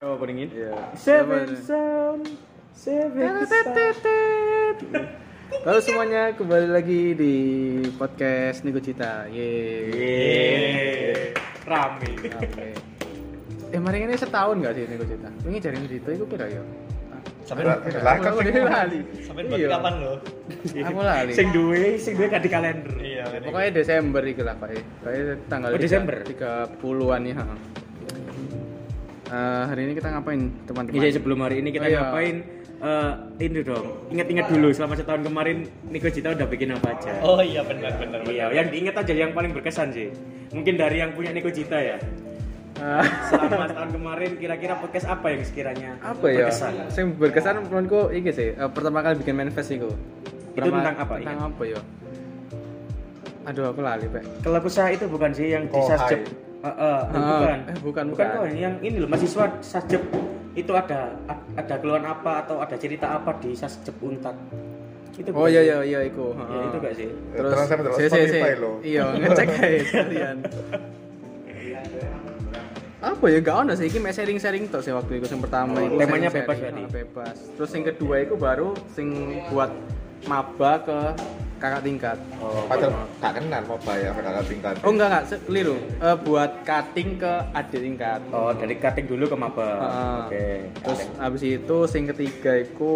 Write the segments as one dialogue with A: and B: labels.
A: Coba peningin.
B: Iya.
A: Seven
B: Coba nih.
A: sound. Seven sound.
B: Tetetetet. Halo semuanya, kembali lagi di podcast Nego Cita. Yeay.
A: Yeay. Rame.
B: Oke. Eh, mari ini setahun gak sih Nego Cita? Ini jaring cerita itu pira ya?
C: Sampai
B: Aku-
C: lah kan
B: aku dhewe lali. Iya.
C: sampai
A: Iya.
C: buat kapan lo?
B: Aku lali.
A: Sing duwe, sing duwe gak di kalender.
C: Iya,
B: Ya, Pokoknya Desember iki lah, Pak. Kayak tanggal
A: Oh,
B: tiga-
A: Desember?
B: 30-an ya. ha. Eh, hari ini kita ngapain, teman-teman?
A: Oke, jadi sebelum hari ini kita
B: Oh, iya.
A: ngapain? Eh, ini dong. Ingat-ingat dulu selama setahun kemarin Niko Cita udah bikin apa aja.
C: Oh iya benar benar benar.
A: Iya, yang diingat aja yang paling berkesan sih. Mungkin dari yang punya Niko Cita ya.
B: Ah.
A: Selama setahun kemarin kira-kira podcast apa yang sekiranya
B: apa ya?
A: berkesan?
B: Sing berkesan menurutku iki sih, eh, pertama kali bikin manifest iku. Pertama-
A: tentang apa, iya?
B: Tentang apa ya? Aduh aku lali, Pak.
A: Kalau kusah itu bukan sih yang di
C: Kohai.
A: sasjep. Eh, eh,
B: Ah,
A: bukan.
B: eh, bukan,
A: bukan.
B: bukan.
A: Kohai. yang ini loh mahasiswa sasjep itu ada a- ada keluhan apa atau ada cerita apa di sasjep untak. Itu
B: Oh
A: bukan
B: iya
A: sih?
B: iya iya iku.
A: Ya, itu gak sih?
B: Terus
C: Transfer terus
B: si, si, si.
C: Spotify lo.
B: Iya, ngecek aja sekalian. apa ya gak ono sih iki mek sharing-sharing tok sih waktu iku sing pertama
A: Oh,
B: iku sharing-sharing,
A: temanya bebas berarti?
B: ah, bebas. Terus yang kedua iku baru sing buat maba ke kakak tingkat.
A: Oh,
C: Oh, Padahal tak kenal mau bayar kakak tingkat.
B: Oh enggak enggak, se- keliru. Eh, buat cutting ke adik tingkat.
A: Oh, dari cutting dulu ke maba.
B: Heeh.
A: Oke.
B: Terus
A: Cutting.
B: habis itu sing ketiga iku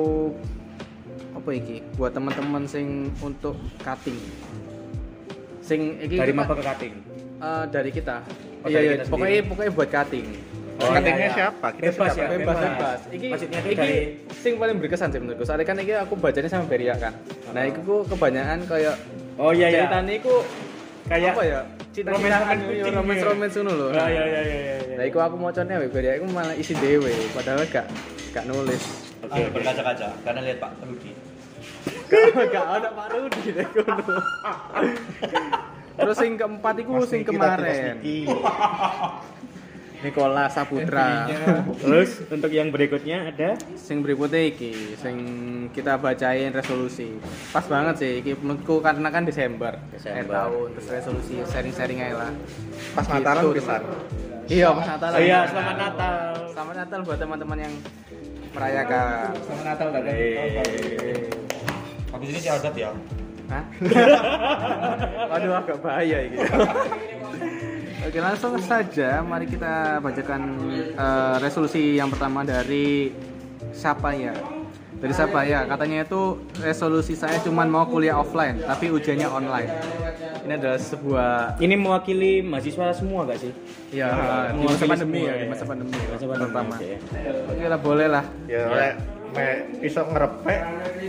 B: apa iki? Buat teman-teman sing untuk cutting. Sing iki
A: dari
B: kita-
A: maba ke cutting.
B: eh, dari kita.
A: Oh,
B: iya
A: dari
B: iya,
A: kita sendiri.
B: pokoknya pokoknya buat cutting.
A: Oh, iya,
C: Cuttingnya
A: iya.
C: siapa? Kita
A: bebas ya,
C: siapa?
B: bebas, bebas. Iki
A: Maksudnya itu
B: iki
A: dari
B: sing paling berkesan sih menurutku. Soalnya kan iki aku bacanya sama Beria kan. Nah, iku ku kebanyakan kayak
A: Oh iya iya.
B: ceritanya iku
A: Kayak
B: apa ya? Cita-citaan
A: romansa-romansa
B: yo,
A: kucing,
B: romance-romance ngono lho.
A: Oh, iya iya iya iya.
B: Nah, iku aku mocone wae Beria iku malah isi dhewe padahal gak gak nulis.
A: Oke, oke.
C: berkaca-kaca karena lihat Pak Rudi.
B: Gak ada Pak Rudi deh kono. Terus sing keempat iku sing kemarin. Nikola Saputra.
A: Terus untuk yang berikutnya ada
B: sing berikutnya iki, sing kita bacain resolusi. Pas banget sih iki menurutku karena kan Desember.
A: Desember.
B: Akhir tahun terus resolusi sharing-sharing aja lah.
C: Pas Natalan
B: Gitu,
C: pisan.
B: teman. Iya, pas Natalan.
A: Oh iya, selamat Natal.
B: Selamat Natal buat teman-teman yang merayakan.
A: Selamat Natal tadi.
C: Habis ini syahadat ya.
B: Hah? Waduh agak bahaya ini. Oke langsung saja mari kita bacakan eh, resolusi yang pertama dari siapa ya? Dari siapa ya? Katanya itu resolusi saya cuman mau kuliah offline tapi ujiannya online. Ini adalah sebuah
A: Ini mewakili mahasiswa semua gak sih?
B: ya di masa
A: mewakili
B: pandemi
A: semua
B: ya,
A: ya.
B: di masa pandemi
A: Masa pandemi,
B: pertama.
A: oke.
B: Oke lah boleh lah.
C: Ya lek me iso ngerepek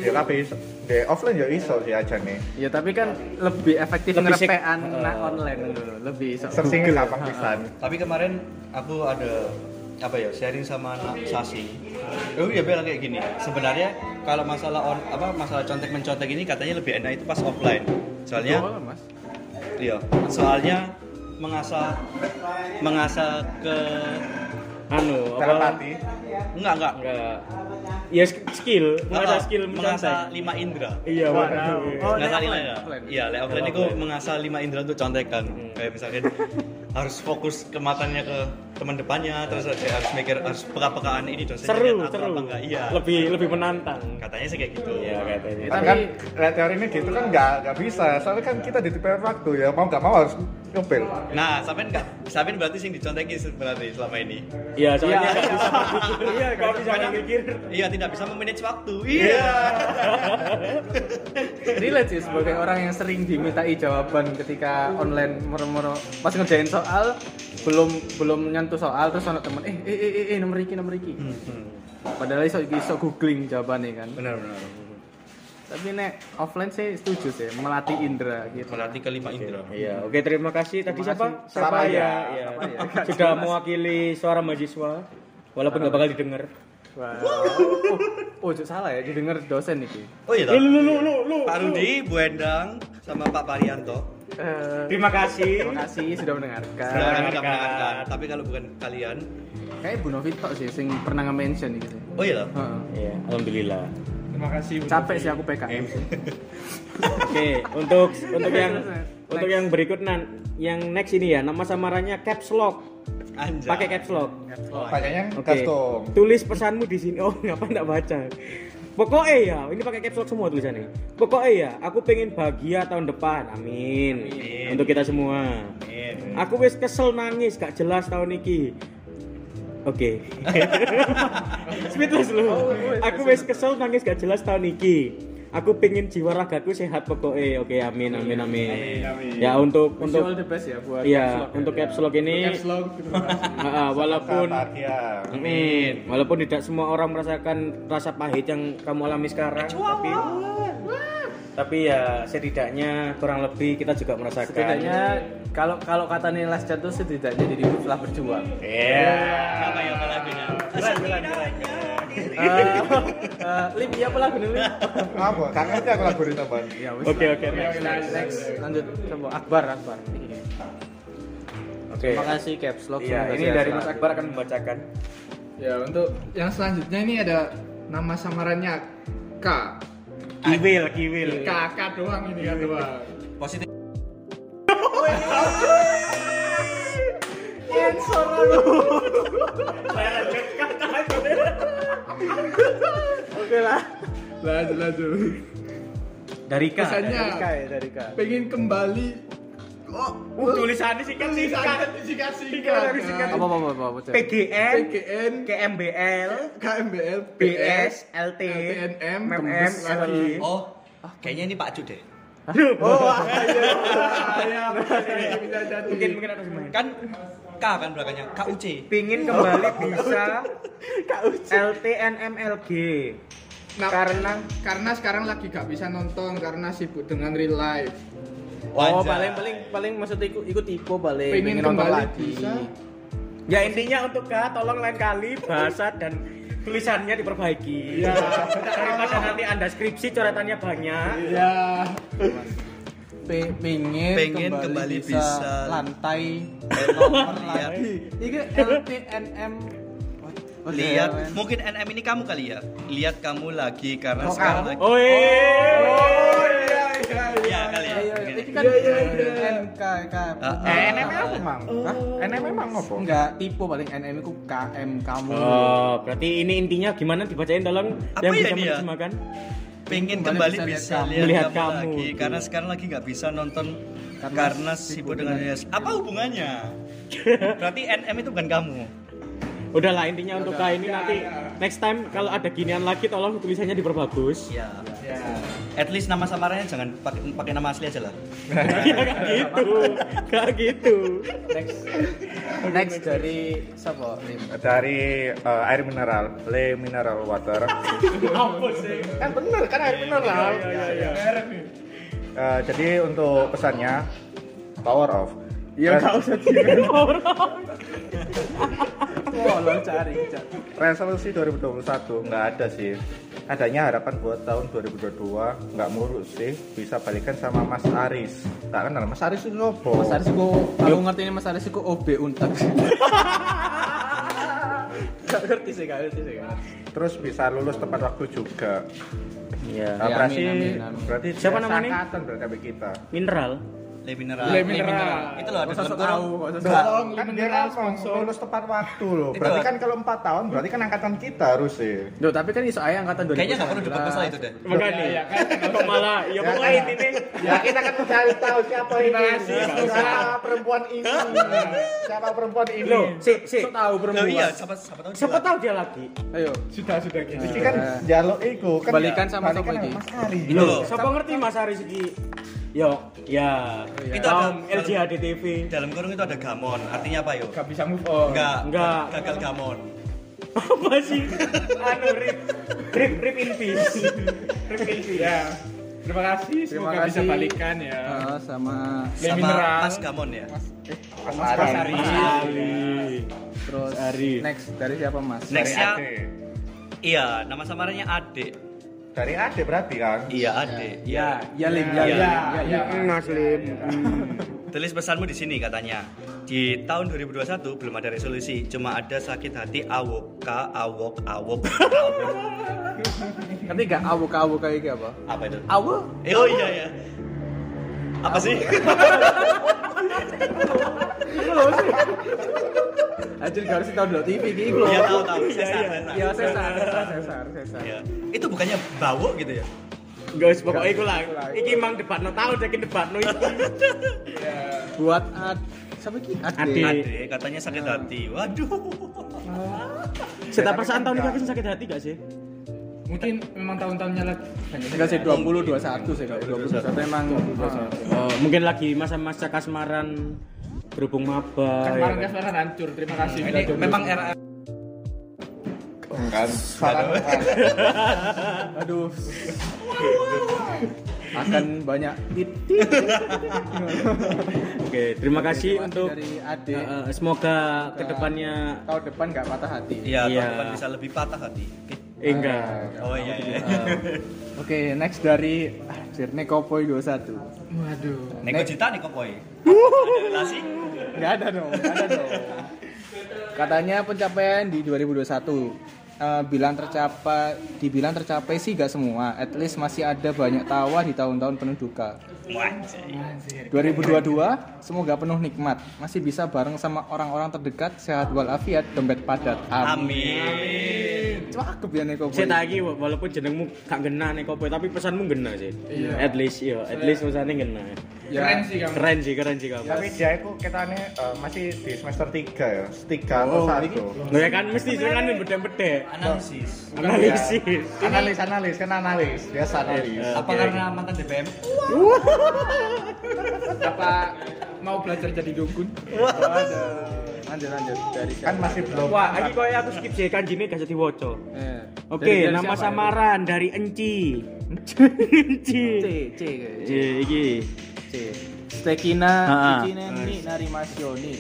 C: ya tapi iso de offline ya iso sih aja nih.
B: Ya tapi kan lebih efektif
A: Lebih sek-
B: ngerepean nah, online dulu, lebih iso
C: Searching
B: Google.
C: gampang pisan.
D: Tapi kemarin aku ada apa ya sharing sama anak Sasi. Oh iya bilang kayak gini. Sebenarnya kalau masalah on apa masalah contek mencontek ini katanya lebih enak itu pas offline. Soalnya
B: Boleh, Mas.
D: iya, soalnya mengasah mengasah ke
A: Anu, apa?
C: Telepati.
D: enggak enggak
A: Enggak. Ya sk- skill, mengasah
D: Apa?
A: skill
D: mengasah
A: mencontek.
D: lima indera.
A: Iya, waduh.
B: Oh, lay
D: Mengasah lima
B: offline,
D: indera.
B: offline.
D: Iya, lay offline itu mengasah lima indera untuk contekan.
A: Hmm.
D: Kayak misalkan harus fokus ke matanya ke teman depannya, terus kayak harus mikir harus peka-pekaan ini dosennya
A: Seru,
D: lihat aku
A: seru.
D: apa enggak. Iya.
A: Lebih lebih menantang.
D: Katanya sih kayak gitu.
A: Iya, katanya.
B: Ya,
C: Tapi kan lek teori ini gitu kan nggak nggak bisa. Soalnya kan kita ditipu waktu ya mau nggak mau harus ngebel.
D: Nah, sampean enggak sampean berarti sing dicontekin sebenarnya selama ini.
A: Iya, soalnya
B: Iya.
A: nggak bisa berpikir. Iya, nggak bisa
D: Kadang-
A: berpikir.
D: Iya, tidak bisa memanage waktu. Iya.
B: relate sih sebagai orang yang sering dimintai jawaban ketika online moro-moro pas ngerjain soal belum belum nyentuh soal terus anak temen eh eh eh eh, eh nomor iki nomor iki
D: Hmm,
B: padahal iso iso googling jawabannya kan
D: Benar, benar.
B: tapi nek offline sih setuju sih melatih indera gitu
D: Melatih kelima indera.
A: Iya, oke terima kasih. Tadi
B: Terima
A: siapa?
B: kasih.
A: Siapa
C: Sapaya.
A: ya? Iya.
B: Sapaya.
A: Sudah mewakili suara mahasiswa walaupun nggak bakal didengar.
B: wow. oh, oh jok salah ya didengar dosen iki
D: Oh iya.
A: Lu
D: toh?
A: lu lu lu lu.
D: Pak Rudi, Bu Endang, sama Pak Parianto.
B: Eh,
A: Terima kasih.
B: terima kasih sudah
A: Nah,
B: mendengarkan
D: Silakan
A: Mendengarkan.
D: mendengarkan. Tapi kalau bukan kalian,
B: kayak Bu Novi tok sih sing pernah nge-mention gitu
D: oh iya loh.
B: Heeh.
A: Iya, alhamdulillah.
C: Terima
D: Iya,
C: kasih.
B: capek sih aku PKM sih
A: Oke, untuk untuk yang
B: Next.
A: untuk yang berikut nan, yang next ini ya, nama samarannya caps lock.
D: Anjay.
A: Pakai caps lock.
B: Oh, iya.
C: pakainya yang
A: Oke.
C: custom
A: Tulis pesanmu di sini. Oh, ngapain enggak baca? Pokoknya ya, ini pakai caps lock semua tulisannya. Pokoknya ya, aku pengen bahagia tahun depan. Amin.
D: Amin.
A: Untuk kita semua. Aku wis kesel nangis gak jelas tahun iki. Oke. Speechless lu. Aku wis kesel nangis gak jelas tahun iki. Aku pengen jiwa ragaku sehat pokoknya. Oke, amin amin amin. Ya untuk
B: untuk the
A: untuk
B: best ya buat caps
A: Iya,
B: lock
A: untuk
B: ya.
A: caps lock ini
B: Caps lock, gitu.
A: ah, ah, walaupun
C: bahagia
A: Amin. Walaupun tidak semua orang merasakan rasa pahit yang kamu alami sekarang, tapi tapi ya setidaknya kurang lebih kita juga merasakan.
B: setidaknya kalau kalau kata nih last chat tuh setidaknya dirimu telah berjuang
A: Eh.
D: Apa ya apa lagunya?
B: Eh, eh, Lim, iya apa lagu nih Lim?
C: apa kangen aku lagu ini tambahan
B: Ya, wis.
A: Oke oke next.
B: next lanjut coba Akbar Akbar
A: Oke.
B: terima kasih caps lock
A: Iya,
B: semoga
A: ini
B: sehat
A: dari
B: selalu.
A: Mas Akbar akan membacakan.
E: Ya untuk yang selanjutnya ini ada nama samarannya K.
A: Kiwil, kiwil.
E: K, K doang ini kan doang.
D: Positif.
E: Lanjut lanjut.
A: Dari Kak.
E: Pesannya
B: dari K ya dari K
E: pengen kembali. Oh,
A: Uh, tulisannya singkat singkat.
E: tulisannya singkat
A: Singkat,
E: singkat.
A: singkat.
B: apa apa apa apa, apa, apa.
A: PGN,
E: PGN,
A: KMBL,
E: KMBL,
A: BS, LT,
E: LTNM,
A: MM,
E: kembes lagi.
A: lagi.
D: Oh,
B: Ah,
D: kayaknya ini Pak Cu deh.
E: Saya bisa jadi.
A: Nah. Mungkin mungkin ada semuanya.
D: Kan K kan belakangnya KUC.
A: pingin kembali bisa LTNMLG
E: Nah,
A: karena
E: karena sekarang lagi gak bisa nonton karena sibuk dengan real life.
B: oh
D: Wajar.
B: paling paling paling maksudnya ikut ikut tipe paling
E: Pengen
B: nonton
E: kembali
B: lagi.
E: bisa.
A: ya intinya untuk kak tolong lain kali bahasa dan tulisannya diperbaiki
E: Iya.
A: daripada nanti anda skripsi coretannya banyak
E: Iya.
B: Pe- pengen,
D: Pengen kembali bisa.
B: lantai
D: Eh, Lihat.
B: Iki LTNM Oh, iya,
D: Lihat, mungkin NM ini kamu kali ya. Lihat kamu lagi karena sekarang lagi.
A: oh
E: Iya, iya, iya.
D: Ya kali ya.
B: kan? Iya, iya,
D: Begini.
B: iki kan NK K. Oh.
D: Ah, ah.
C: eh NM apa mang? Hah? NM emang apa?
B: Enggak, tipe paling NM itu KM kamu.
A: Oh, berarti ini intinya gimana dibacain tolong yang
D: Apa ya
A: bisa
D: ini ya?
A: menerjemahkan
D: pengen
B: Kembali
D: kembali
B: bisa lihat
D: bisa
B: kamu.
D: lihat,
A: Melihat
D: kamu,
A: kamu.
D: lagi karena sekarang lagi nggak bisa nonton
B: Karena
D: karena,
B: sibuk
D: sibuk dengan dunia. apa hubungannya berarti NM itu bukan kamu
A: udahlah intinya untuk kak ini nanti next time kalau ada ginian lagi tolong tulisannya diperbagus
B: Iya.
D: ya at least nama samarannya jangan pakai pakai nama asli aja lah
A: ya kayak gitu kayak gitu
B: Next. Next dari siapa? Lim?
C: dari eh, air mineral, le mineral water. kan bener kan air
B: Iya,
C: mineral. Eh, jadi untuk pesannya power off. Res-
B: Wah, lo cari. cari.
C: resolusi 2021 nggak ada sih. Adanya harapan buat tahun 2022 nggak muruk sih bisa balikan sama Mas Aris. Nggak kenal Mas Aris itu apa?
B: Mas Aris ku, aku ngerti ini Mas Aris ku OB untak. Gak ngerti sih, gak ngerti sih. gak ngerti.
C: Terus bisa lulus tepat waktu juga.
A: ya
C: Nah,
B: Ya,
C: berarti,
B: amin, amin, amin.
C: berarti
A: Siapa namanya?
C: seangkatan berarti sama kita.
A: mineral
D: le mineral
E: Le mineral.
D: itu loh
B: Gak
D: ada
B: usah
D: dalam
B: sok tahu,
D: kurung
B: gak usah sok tahu.
E: Tolong
C: kan dia
E: mineral
C: ngomong
E: sponsor.
C: lulus tepat waktu loh.
D: Itu
C: Berarti
D: lah.
C: kan kalau 4 tahun berarti kan angkatan kita harus sih.
B: Duh, tapi kan iso aja angkatan 2019.
D: kayaknya nggak perlu debat masalah itu deh
A: makanya
D: Iya,
E: Ya, ya,
D: kan.
A: kok malah ya pokoknya intinya
C: Ya kita kan mencari tahu siapa ini.
E: kasih,
C: Siapa perempuan ini? Siapa perempuan ini?
A: Loh, si, si.
B: Sok tahu
D: Loh,
B: perempuan.
D: iya siapa siapa tahu
A: Siapa
D: jelas.
A: tahu dia lagi?
B: Ayo.
E: Sudah sudah gini.
C: Jadi kan jaluk iku kan
B: Balikan sama
C: balikan
B: siapa
C: sama
B: iki?
C: Mas Ari.
A: Iya. Gitu
D: Itu loh.
A: Siapa ngerti Mas Aris iki? Yo, ya.
D: iya.
A: Itu ada LJHD TV.
D: dalam kurung itu ada gamon artinya apa yo
E: Gak bisa move on.
D: enggak
A: Nggak.
D: gagal gamon
A: Apa sih? Anu rip rip rip in peace. Rip in peace.
E: Ya. Terima kasih,
B: Terima
E: semoga bisa
B: kasih.
E: balikan ya.
B: Eh, sama
E: Le
D: sama
E: mineral.
D: mas gamon ya
C: Mas Ari.
A: Mas Ari.
B: terus
A: Ari.
B: next dari siapa Mas?
D: Next.
C: Dari
D: Nextnya-
C: Ade.
D: iya nama samarannya Ade
C: Dari Ade berarti kan.
D: iya Ade
B: Ya,
D: iya
B: ya Lim, ya
D: Ya.
B: Lim, ya ya.
A: Naslim.
D: Tulis pesanmu di sini katanya. Di tahun 2021 belum ada resolusi, cuma ada sakit hati awok ka awok awok.
B: Ngerti gak awuk-awuk kayak gitu apa?
D: Apa itu?
B: Awuk?
D: Eh, oh iya ya. Apa sih?
B: Anjir gak harus tahu dulu TV iki lho.
D: Iya, tahu, tahu. Sesar, sesar.
B: Iya, sesar, sesar, sesar, sesar.
D: Ya. Itu bukannya bawuk gitu ya?
A: Enggak wis pokoke iku lah. Iki mang debatno tau iki debatno iki.
B: Buat ad siapa iki? Ade.
A: Ade.
D: Ade katanya sakit hati. Waduh.
A: Serta perasaan tahun ini aku sakit hati gak sih?
E: Mungkin memang tahun-tahunnya lagi banyak.
B: Enggak sih 20 21 sih kalau 20 21 emang
A: Oh, mungkin lagi masa-masa kasmaran berhubung maba. ya
E: Kemarin
A: kan?
E: kasmaran hancur. Terima kasih.
D: Ini memang era
C: kan saran
B: aduh. Akan banyak titik
A: Oke, terima kasih untuk
B: dari Ade.
A: eh, eh, semoga kedepannya
B: Tahun depan nggak patah hati.
D: ya
A: Iya.
D: teman bisa lebih patah kan hati. Oke.
A: eh, enggak.
D: Oh iya iya.
B: Oke, next dari Anjir, Nekopoy 21.
E: Waduh.
D: Neko cita nih kopoi. Relasi.
B: Enggak ada dong, nggak ada dong. Katanya pencapaian di 2021 eh, bilang tercapai dibilang tercapai sih gak semua at least masih ada banyak tawa di tahun-tahun penuh duka
D: Wah, anjay.
B: 2022 semoga penuh nikmat masih bisa bareng sama orang-orang terdekat sehat walafiat dompet padat amin
D: Amin.
B: cakep ya Neko
A: Saya tadi walaupun jenengmu gak ngena nih kopo, tapi pesanmu ngena sih.
E: Iya.
A: At least yo, at least
B: Iya.
A: pesannya ngena.
E: Keren sih kamu.
A: Keren sih, keren sih kamu.
C: tapi dia itu kita ini eh, masih di semester 3 ya 3 atau
B: Oh,
C: 1
A: Lo ya kan mesti jangan
B: Iya,
A: bedek-bedek.
D: Analisis.
A: Analisis.
C: analis analis kan analis dia analis
D: Apa karena mantan DPM?
E: Apa mau belajar jadi dukun?
B: lanjut lanjut dari
C: kan masih belum
A: Wah, lagi koyo aku skip sih kanjine gak jadi
B: eh,
A: waca.
B: dari-
A: Oke,
B: dari
A: nama
B: siapa?
A: samaran dari Enci. Enci.
B: C C
A: C iki.
B: C Stekina
A: Ha-ha.
B: Cikine ni Narimasioni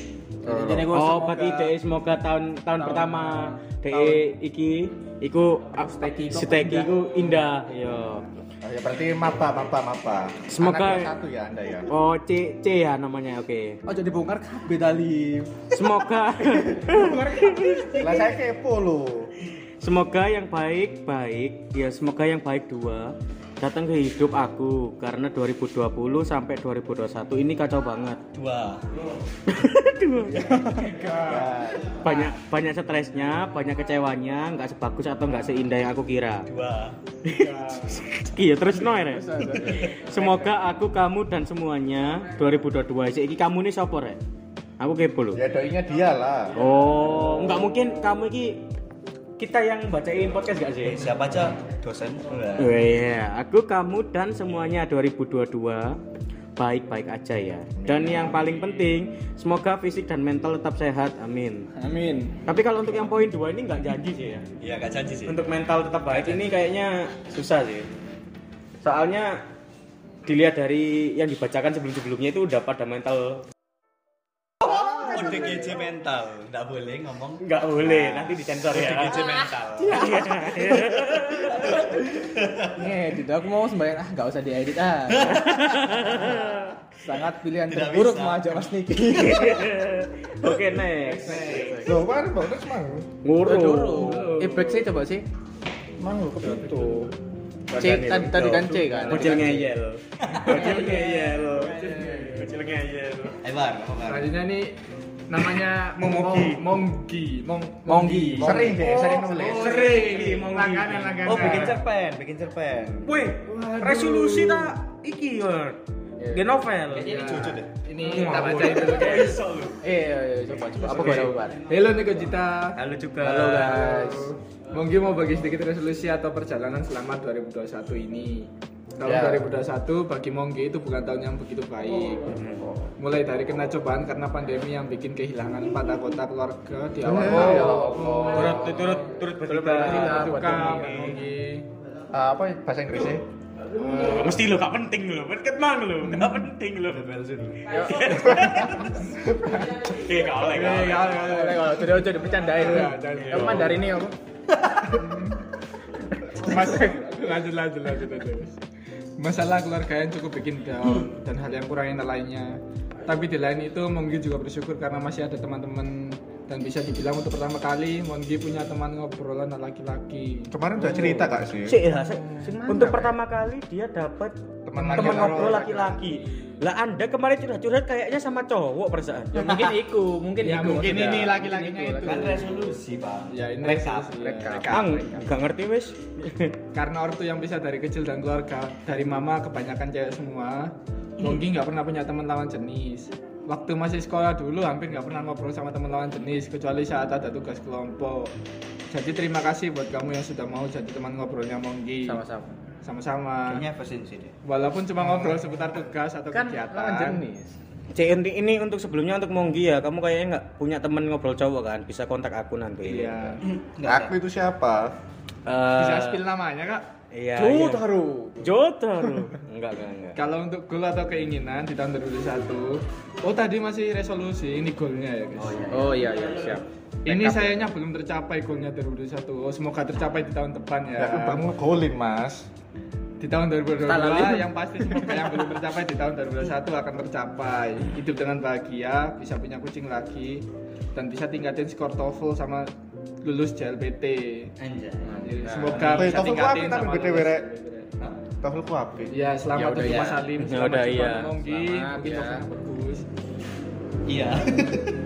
C: Oh.
B: Jadi gua
A: Oh,
B: semoga-
A: berarti
E: E.
A: DE semoga tahun tahun pertama DE iki iku
B: Steki kok
A: steki
B: indah.
A: iku indah. Iya. Yo.
C: Oh, ya berarti maba maba maba
A: Semoga-
C: Anak yang satu ya anda ya
A: Oh, C C ya namanya. Oke.
B: Oh jadi bongkar kabeh tali.
A: Semoga
C: lah saya kepo loh
A: semoga yang baik baik ya semoga yang baik dua datang ke hidup aku karena 2020 sampai 2021 ini kacau banget.
D: Dua.
A: banyak banyak stresnya, banyak kecewanya, nggak sebagus atau nggak seindah yang aku kira.
D: Dua.
A: Iya terus no Rek. Semoga aku, kamu dan semuanya 2022 sih. Iki kamu nih sopo Rek? Aku kepo loh.
C: ya doinya dia lah
A: Oh, nggak mungkin kamu iki kita yang bacain podcast gak sih?
D: Eh, siapa aja dosen?
A: Oh iya, aku kamu dan semuanya 2022 baik-baik aja ya. Dan yang paling penting, semoga fisik dan mental tetap sehat. Amin.
B: Amin.
A: Tapi kalau untuk yang poin dua ini nggak janji sih ya.
D: Iya, gak janji sih.
A: untuk mental tetap baik ini kayaknya susah sih soalnya dilihat dari yang dibacakan sebelum-sebelumnya itu udah pada mental
D: ODGJ mental. Enggak boleh ngomong
A: nggak boleh nanti disensor ya
D: ODGJ mental.
B: Ngedit aku mau sembahyang ah enggak usah diedit ah. Sangat pilihan
D: Tidak
B: terburuk
D: bisa.
B: mau ajak Mas Niki.
A: oke next
C: loh kan bang terus mang
A: ngurung
B: Eh break sih coba sih.
C: mang lo kepitu
B: C tadi, tadi kan C kan.
A: bocil
D: iya.
A: ngeyel bocil ngeyel bocil ngeyel
D: Ebar, Ebar.
E: Selanjutnya ini namanya
C: Momogi.
E: Mong- Monggi. Mong
B: Monggi.
E: Iya.
C: sering deh sering nulis
A: Oh, sering ini mau
E: langganan langganan.
D: Oh, bikin cerpen, bikin cerpen.
A: weh resolusi tak iki ya genovel
D: Iya. Ini cucu deh.
E: Iya. Ini kita bacain dulu guys.
B: Eh iya, iya, coba coba apa gua apa
A: Oh.
B: gua?
E: Halo Niko Jita.
A: halo juga
B: Halo guys.
E: Monggi mau bagi sedikit resolusi atau perjalanan selama 2021 ini. Tahun
B: Ya.
E: 2021 bagi Monggi itu bukan tahun yang begitu baik. Mulai dari kena cobaan karena pandemi yang bikin kehilangan empat anggota keluarga di awal
B: Oh, ya
E: tahun.
B: Allah.
A: turut turut turut berduka
B: berduka.
E: Duka,
B: pandemi.
E: Monggi.
C: Ah, apa
B: ya?
C: bahasa Inggrisnya
A: Eh, mesti lo gak penting lo berket mang lo gak
B: Hmm.
A: penting lo Oke, Iya, gak oleh gak oleh. Iya,
B: Ya ya sudah sudah dipercandain. Emang dari ini apa?
E: Mas- lanjut lanjut lanjut lanjut. Masalah keluarga yang cukup bikin down dan hal yang kurang enak lainnya. Tapi di lain itu Monggi juga bersyukur karena masih ada teman-teman dan bisa dibilang untuk pertama kali Monggi punya teman ngobrolan laki-laki.
C: Oh. kemarin udah cerita kak sih
A: Cik, ya, se- untuk pertama kali dia dapat teman
E: teman laki-laki.
A: ngobrol laki-laki lah anda kemarin curhat-curhat kayaknya sama cowok perasaan
F: Ya, mungkin iku, mungkin
E: Ya,
F: iku.
E: mungkin
F: Tidak.
E: ini laki-lakinya itu.
D: kan resolusi pak
E: Ya, ini
D: rekap
E: resolusi.
D: rekap
A: ang nggak ngerti wes
E: karena ortu yang bisa dari kecil dan keluarga dari mama kebanyakan cewek semua
B: Iya.
E: Mungkin nggak pernah punya teman lawan jenis waktu masih sekolah dulu hampir nggak pernah ngobrol sama teman lawan jenis kecuali saat ada tugas kelompok jadi terima kasih buat kamu yang sudah mau jadi teman ngobrolnya Monggi
B: sama-sama
E: sama-sama
D: kayaknya pesen sih deh
E: walaupun cuma ngobrol seputar tugas atau
B: kan lawan
E: kegiatan
B: jenis
A: CNT ini untuk sebelumnya untuk Monggi ya kamu kayaknya nggak punya temen ngobrol cowok kan bisa kontak aku nanti
E: iya
B: Eh.
C: aku itu siapa
A: Eh,
E: bisa spill namanya kak
A: iya
B: Ya,
A: iya.
B: Jotaro
A: Jotaro enggak enggak enggak
E: kalau untuk goal atau keinginan di tahun 2021 oh tadi masih resolusi ini goalnya ya guys
B: oh iya iya siap
E: Ini sayangnya belum tercapai goalnya 2021. Oh, semoga tercapai di tahun depan ya.
C: aku bangun golin mas
E: Di tahun
B: Tak lalu.
E: 2022 yang pasti semoga yang belum tercapai di tahun 2021 akan tercapai. Hidup dengan bahagia, bisa punya kucing lagi dan bisa tingkatin skor TOEFL sama lulus JLPT.
D: anjay
E: Nah, Jadi semoga
C: Wih, TOEFL
E: bisa
C: ku
E: tingkatin
C: apik tapi
E: sama
C: gede,
E: lulus.
C: Werek. Tahu aku apa?
E: Ya, selamat
B: udah,
E: untuk
B: ya.
E: Mas Salim.
A: Ya
E: selamat
A: udah,
E: untuk
A: iya.
E: Bang Monggi,
B: Selamat,
E: mungkin
B: ya.
E: TOEFL-nya bagus.
D: iya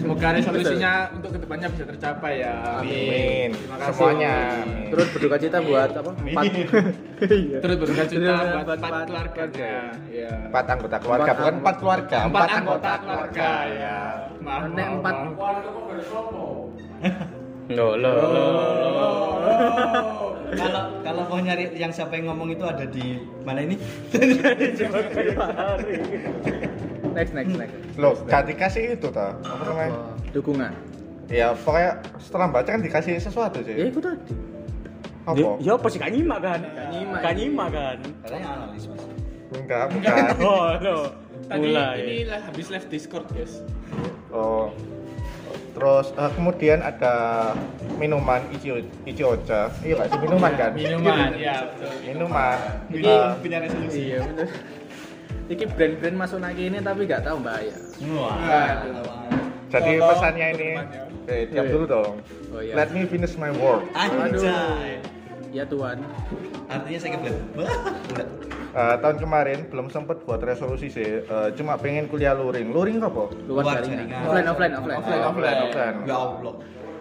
E: Semoga resolusinya untuk kedepannya bisa tercapai ya.
C: Amin.
E: Terima kasih.
C: Semuanya. amin.
B: terus berduka cita buat apa empat Iya.
E: Terus berduka cita
B: Terus
E: buat
B: buat-
E: empat
B: buat
E: keluarga. Iya.
C: empat anggota keluarga
B: Empat
C: bukan
B: anggota-
C: empat keluarga
E: empat anggota keluarga ya. Maaf,
B: Nek,
E: maaf,
B: empat.
E: maaf.
A: Loh, loh, loh.
D: kalau kalau mau nyari yang siapa yang ngomong itu ada di mana ini
B: next next next
C: loh gak dikasih itu toh apa namanya
A: Hmm.
B: dukungan
C: ya pokoknya setelah baca kan dikasih
B: ya
C: sesuatu sih
B: itu tadi
C: apa
A: Ya apa sih gak nyimak kan?
B: nyimak.
A: Gak nyimak kan?
D: katanya analis mas
C: enggak bukan
A: Oh, ya. no.
E: Tadi ini
A: Mulai.
E: lah habis live Discord, guys.
C: oh terus eh, kemudian ada minuman ichi ichi ocha iya gak sih minuman kan
E: Minuman, ya betul. Ah.
C: minuman
E: Jadi
C: Eh,
E: punya resolusi.
B: iya bener Iki brand-brand masuk lagi ini tapi nggak tahu mbak ya.
D: wah
C: jadi
E: Tolong
C: pesannya ini
E: minumannya.
C: eh, tiap dulu dong
B: Oh iya.
C: let me finish my work
D: anjay
B: Ya Tuhan.
D: artinya saya kebelet
C: Eh, tahun kemarin belum sempat buat resolusi sih eh, cuma pengen kuliah luring luring apa
B: Luar
D: Luar
B: jaringan.
D: jaringan.
B: Offline, offline, offline.
C: Offline, offline, offline.
D: ya Allah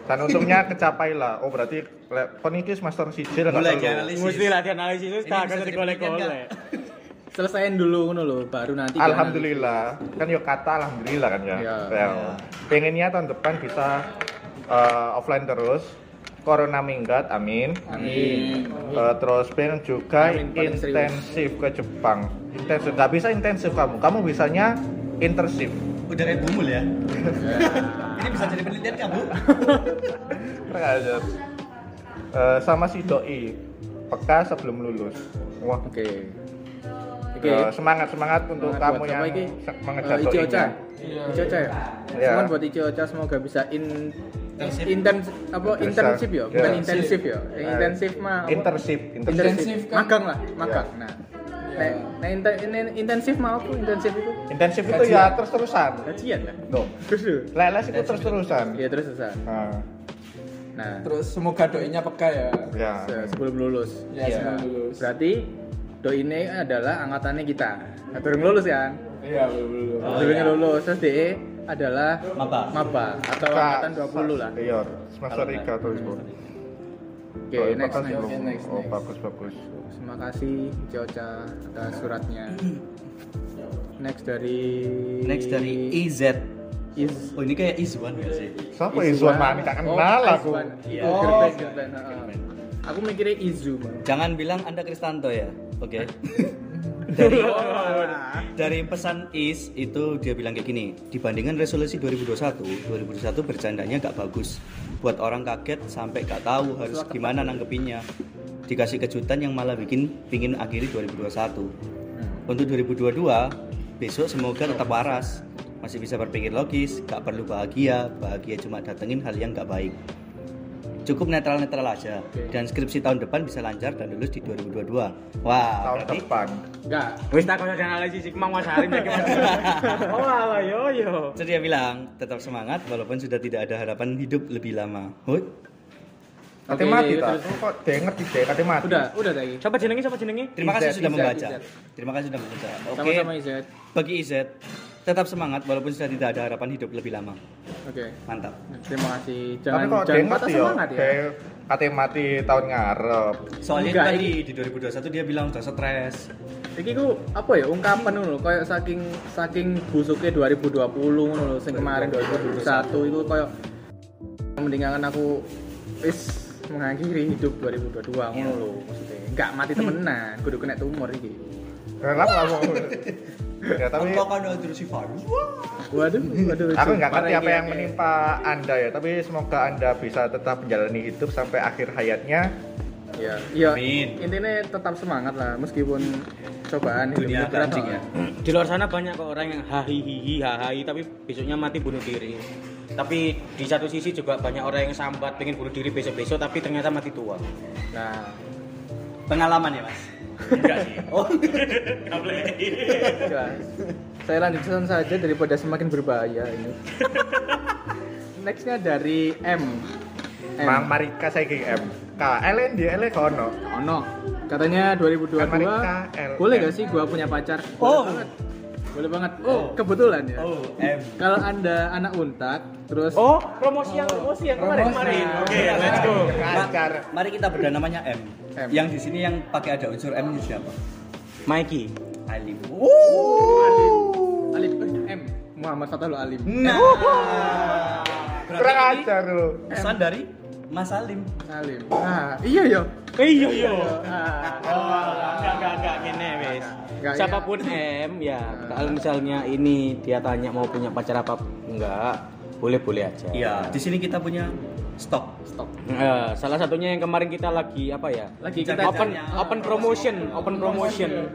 C: Dan untungnya kecapai lah. Oh berarti le- kon iki semester siji lah
D: mulai
C: nggak perlu.
D: dianalisis
A: Mesti latihan analisis kan terus
D: Ini bisa
A: kagak jadi
D: dipikirkan,
A: golek-golek.
B: Selesaiin dulu ngono loh, baru nanti.
C: Alhamdulillah. Kan yo kata alhamdulillah kan ya.
B: Iya.
C: Ya. Pengennya tahun depan bisa uh, offline terus. Corona minggat, amin.
B: Amin.
C: Uh, terus pengen juga
B: Amin, paling serius.
C: intensif ke Jepang. Intensif, nggak bisa intensif kamu. Kamu bisanya intensif.
D: udah kayak bumul ya ini bisa jadi penelitian kamu
C: Terus, uh, sama si doi peka sebelum lulus. Wah,
B: Oke. Oke.
C: uh, semangat semangat untuk
B: Semangat
C: kamu
B: buat
C: yang
B: apa iki?
C: se- mengejar
B: Eh, Ichi
C: doinya.
B: Ocha. Ichi Ocha ya.
C: Iya.
B: Semoga buat Ichi Ocha semoga bisa in
D: Internship.
B: intern apa
C: Internship.
B: internship ya, bukan
C: Iya.
B: intensif ya. Yang Intensif mah apa?
C: Internship, internship.
B: Intensif.
E: kan.
B: Magang lah, magang.
C: Iya.
B: Nah. Nah, nah inter- ini- intensif mau aku intensif itu
C: Intensif itu ya terus-terusan.
B: gajian lah.
C: Loh,
B: Terus.
C: leles itu terus-terusan.
B: Ya terus susah.
C: Nah,
B: Nah,
E: Terus semoga doinya peka ya.
C: ya.
B: se- sebelum lulus. Iya.
E: Ya, sebelum lulus.
B: Berarti do ini adalah angkatannya kita. Nah, turun lulus kan?
E: Iya, belum belum.
B: Oh, lulus terus DE adalah
D: Maba.
B: Maba atau
C: Ka-
B: angkatan 20 lah.
C: Iya, semester 3 terus. Bu.
B: Oke,
C: Oh,
B: next
C: makasih,
B: next.
C: Bu.
B: next,
C: Oh,
B: next.
C: bagus bagus.
B: Terima kasih Joca atas suratnya. Next dari
D: next dari IZ
B: Is
D: oh ini kayak Izwan gak sih
C: Siapa Izwan Mani? Gak kenal aku.
B: Oh, Iya. Oh, girlfriend, girlfriend, heeh. Aku mikirnya Izu, Bang.
D: jangan bilang anda Kristanto ya oke dari dari pesan Is itu dia bilang kayak gini dibandingkan resolusi 2021 2021 bercandanya gak bagus buat orang kaget sampai gak tahu harus gimana nanggepinnya dikasih kejutan yang malah bikin pingin akhiri 2021 untuk 2022 besok semoga tetap waras masih bisa berpikir logis gak perlu bahagia bahagia cuma datengin hal yang gak baik cukup netral-netral aja dan skripsi tahun depan bisa lancar dan lulus di 2022 wah
C: Tahun
D: berarti
C: depan.
B: Enggak.
A: Wis tak kaya analisis iki Mang Mas Harim ya Oh, ala yo yo.
D: Jadi dia bilang tetap semangat walaupun sudah tidak ada harapan hidup lebih lama. Hut.
C: Katanya
B: Oke,
C: mati
B: iya,
C: tak?
B: terus.
C: Oh, Kok dia ngerti dia katanya mati.
B: Udah, udah lagi.
A: Siapa jenengi? Siapa jenengi?
D: Terima kasih
B: Izat,
D: sudah
B: Izat,
D: membaca.
B: Izat.
D: Terima kasih sudah membaca. Oke.
B: Sama-sama Izet.
D: Bagi Izet, tetap semangat walaupun sudah tidak ada harapan hidup lebih lama.
B: Oke.
D: Mantap.
B: Terima kasih.
C: Tapi
B: Jangan
C: kok dia
B: jangan patah
C: ngerti ya?
B: semangat ya.
C: Dia katanya mati tahun ngarep.
D: Soalnya itu
B: Enggak,
D: tadi di 2021 dia bilang udah stres.
B: Iki ku apa ya ungkapan ngono lho, koyo saking saking busuke 2020 ngono lho sing kemarin 2021 iku koyo mendingan aku wis mengakhiri hidup 2022 ngono lho maksudnya. Enggak mati temenan, kudu kena tumor iki.
C: Kenapa kamu? Ya tapi
D: Apakah ada kan terus sifat?
B: Waduh, waduh. Cuk,
C: aku nggak ngerti
B: parah
C: apa
B: ini, ya.
C: yang
B: oke.
C: menimpa anda ya. Tapi semoga anda bisa tetap menjalani hidup sampai akhir hayatnya.
B: Ya, ya
D: Amin.
B: intinya tetap semangat lah meskipun cobaan hidup
D: Dunia
B: itu berat,
D: anjing
B: lah.
D: ya.
A: Di luar sana banyak kok orang yang hahihihi hahai tapi besoknya mati bunuh diri. Tapi di satu sisi juga banyak orang yang sambat pengen bunuh diri besok-besok tapi ternyata mati tua.
B: Nah,
D: Pengalaman ya, Mas. Enggak sih. Oh, enggak boleh.
B: jelas. Iya. Saya lanjutkan saja daripada semakin berbahaya ini. Nextnya dari M. M.
C: Mang Marika saya KM. K Ellen dia Ellen kono.
B: E Ono. Katanya 2022.
C: Amerika, LM.
B: boleh gak sih gua punya pacar? Boleh
D: Oh.
B: banget. Boleh banget. Oh, kebetulan ya.
D: Oh, M.
B: Kalau Anda anak untak, terus
A: Oh, promosi yang promosi yang kemarin kemarin. Oke, let's go.
C: Kasar.
D: Mari kita bedah namanya M.
B: M.
D: Yang di sini yang pakai ada unsur M itu siapa?
A: Mikey.
D: Alim.
B: Alif eh, M. Muhammad Fatul Alif.
D: Nah.
C: Kurang
D: Berarti ini
C: ajar lu.
D: pesan dari Mas Alim.
B: Alim. Ah, iya yo.
A: Eh, iya iya.
B: Ah.
A: Enggak enggak enggak gini wes.
B: Enggak,
A: ah, Siapapun M ya, kalau misalnya ini dia tanya mau punya pacar apa enggak, boleh-boleh aja.
D: Iya, di sini kita punya stok.
B: Stop.
A: Eh, salah satunya yang kemarin kita lagi apa ya?
B: Lagi kita
A: open open promotion, open promotion.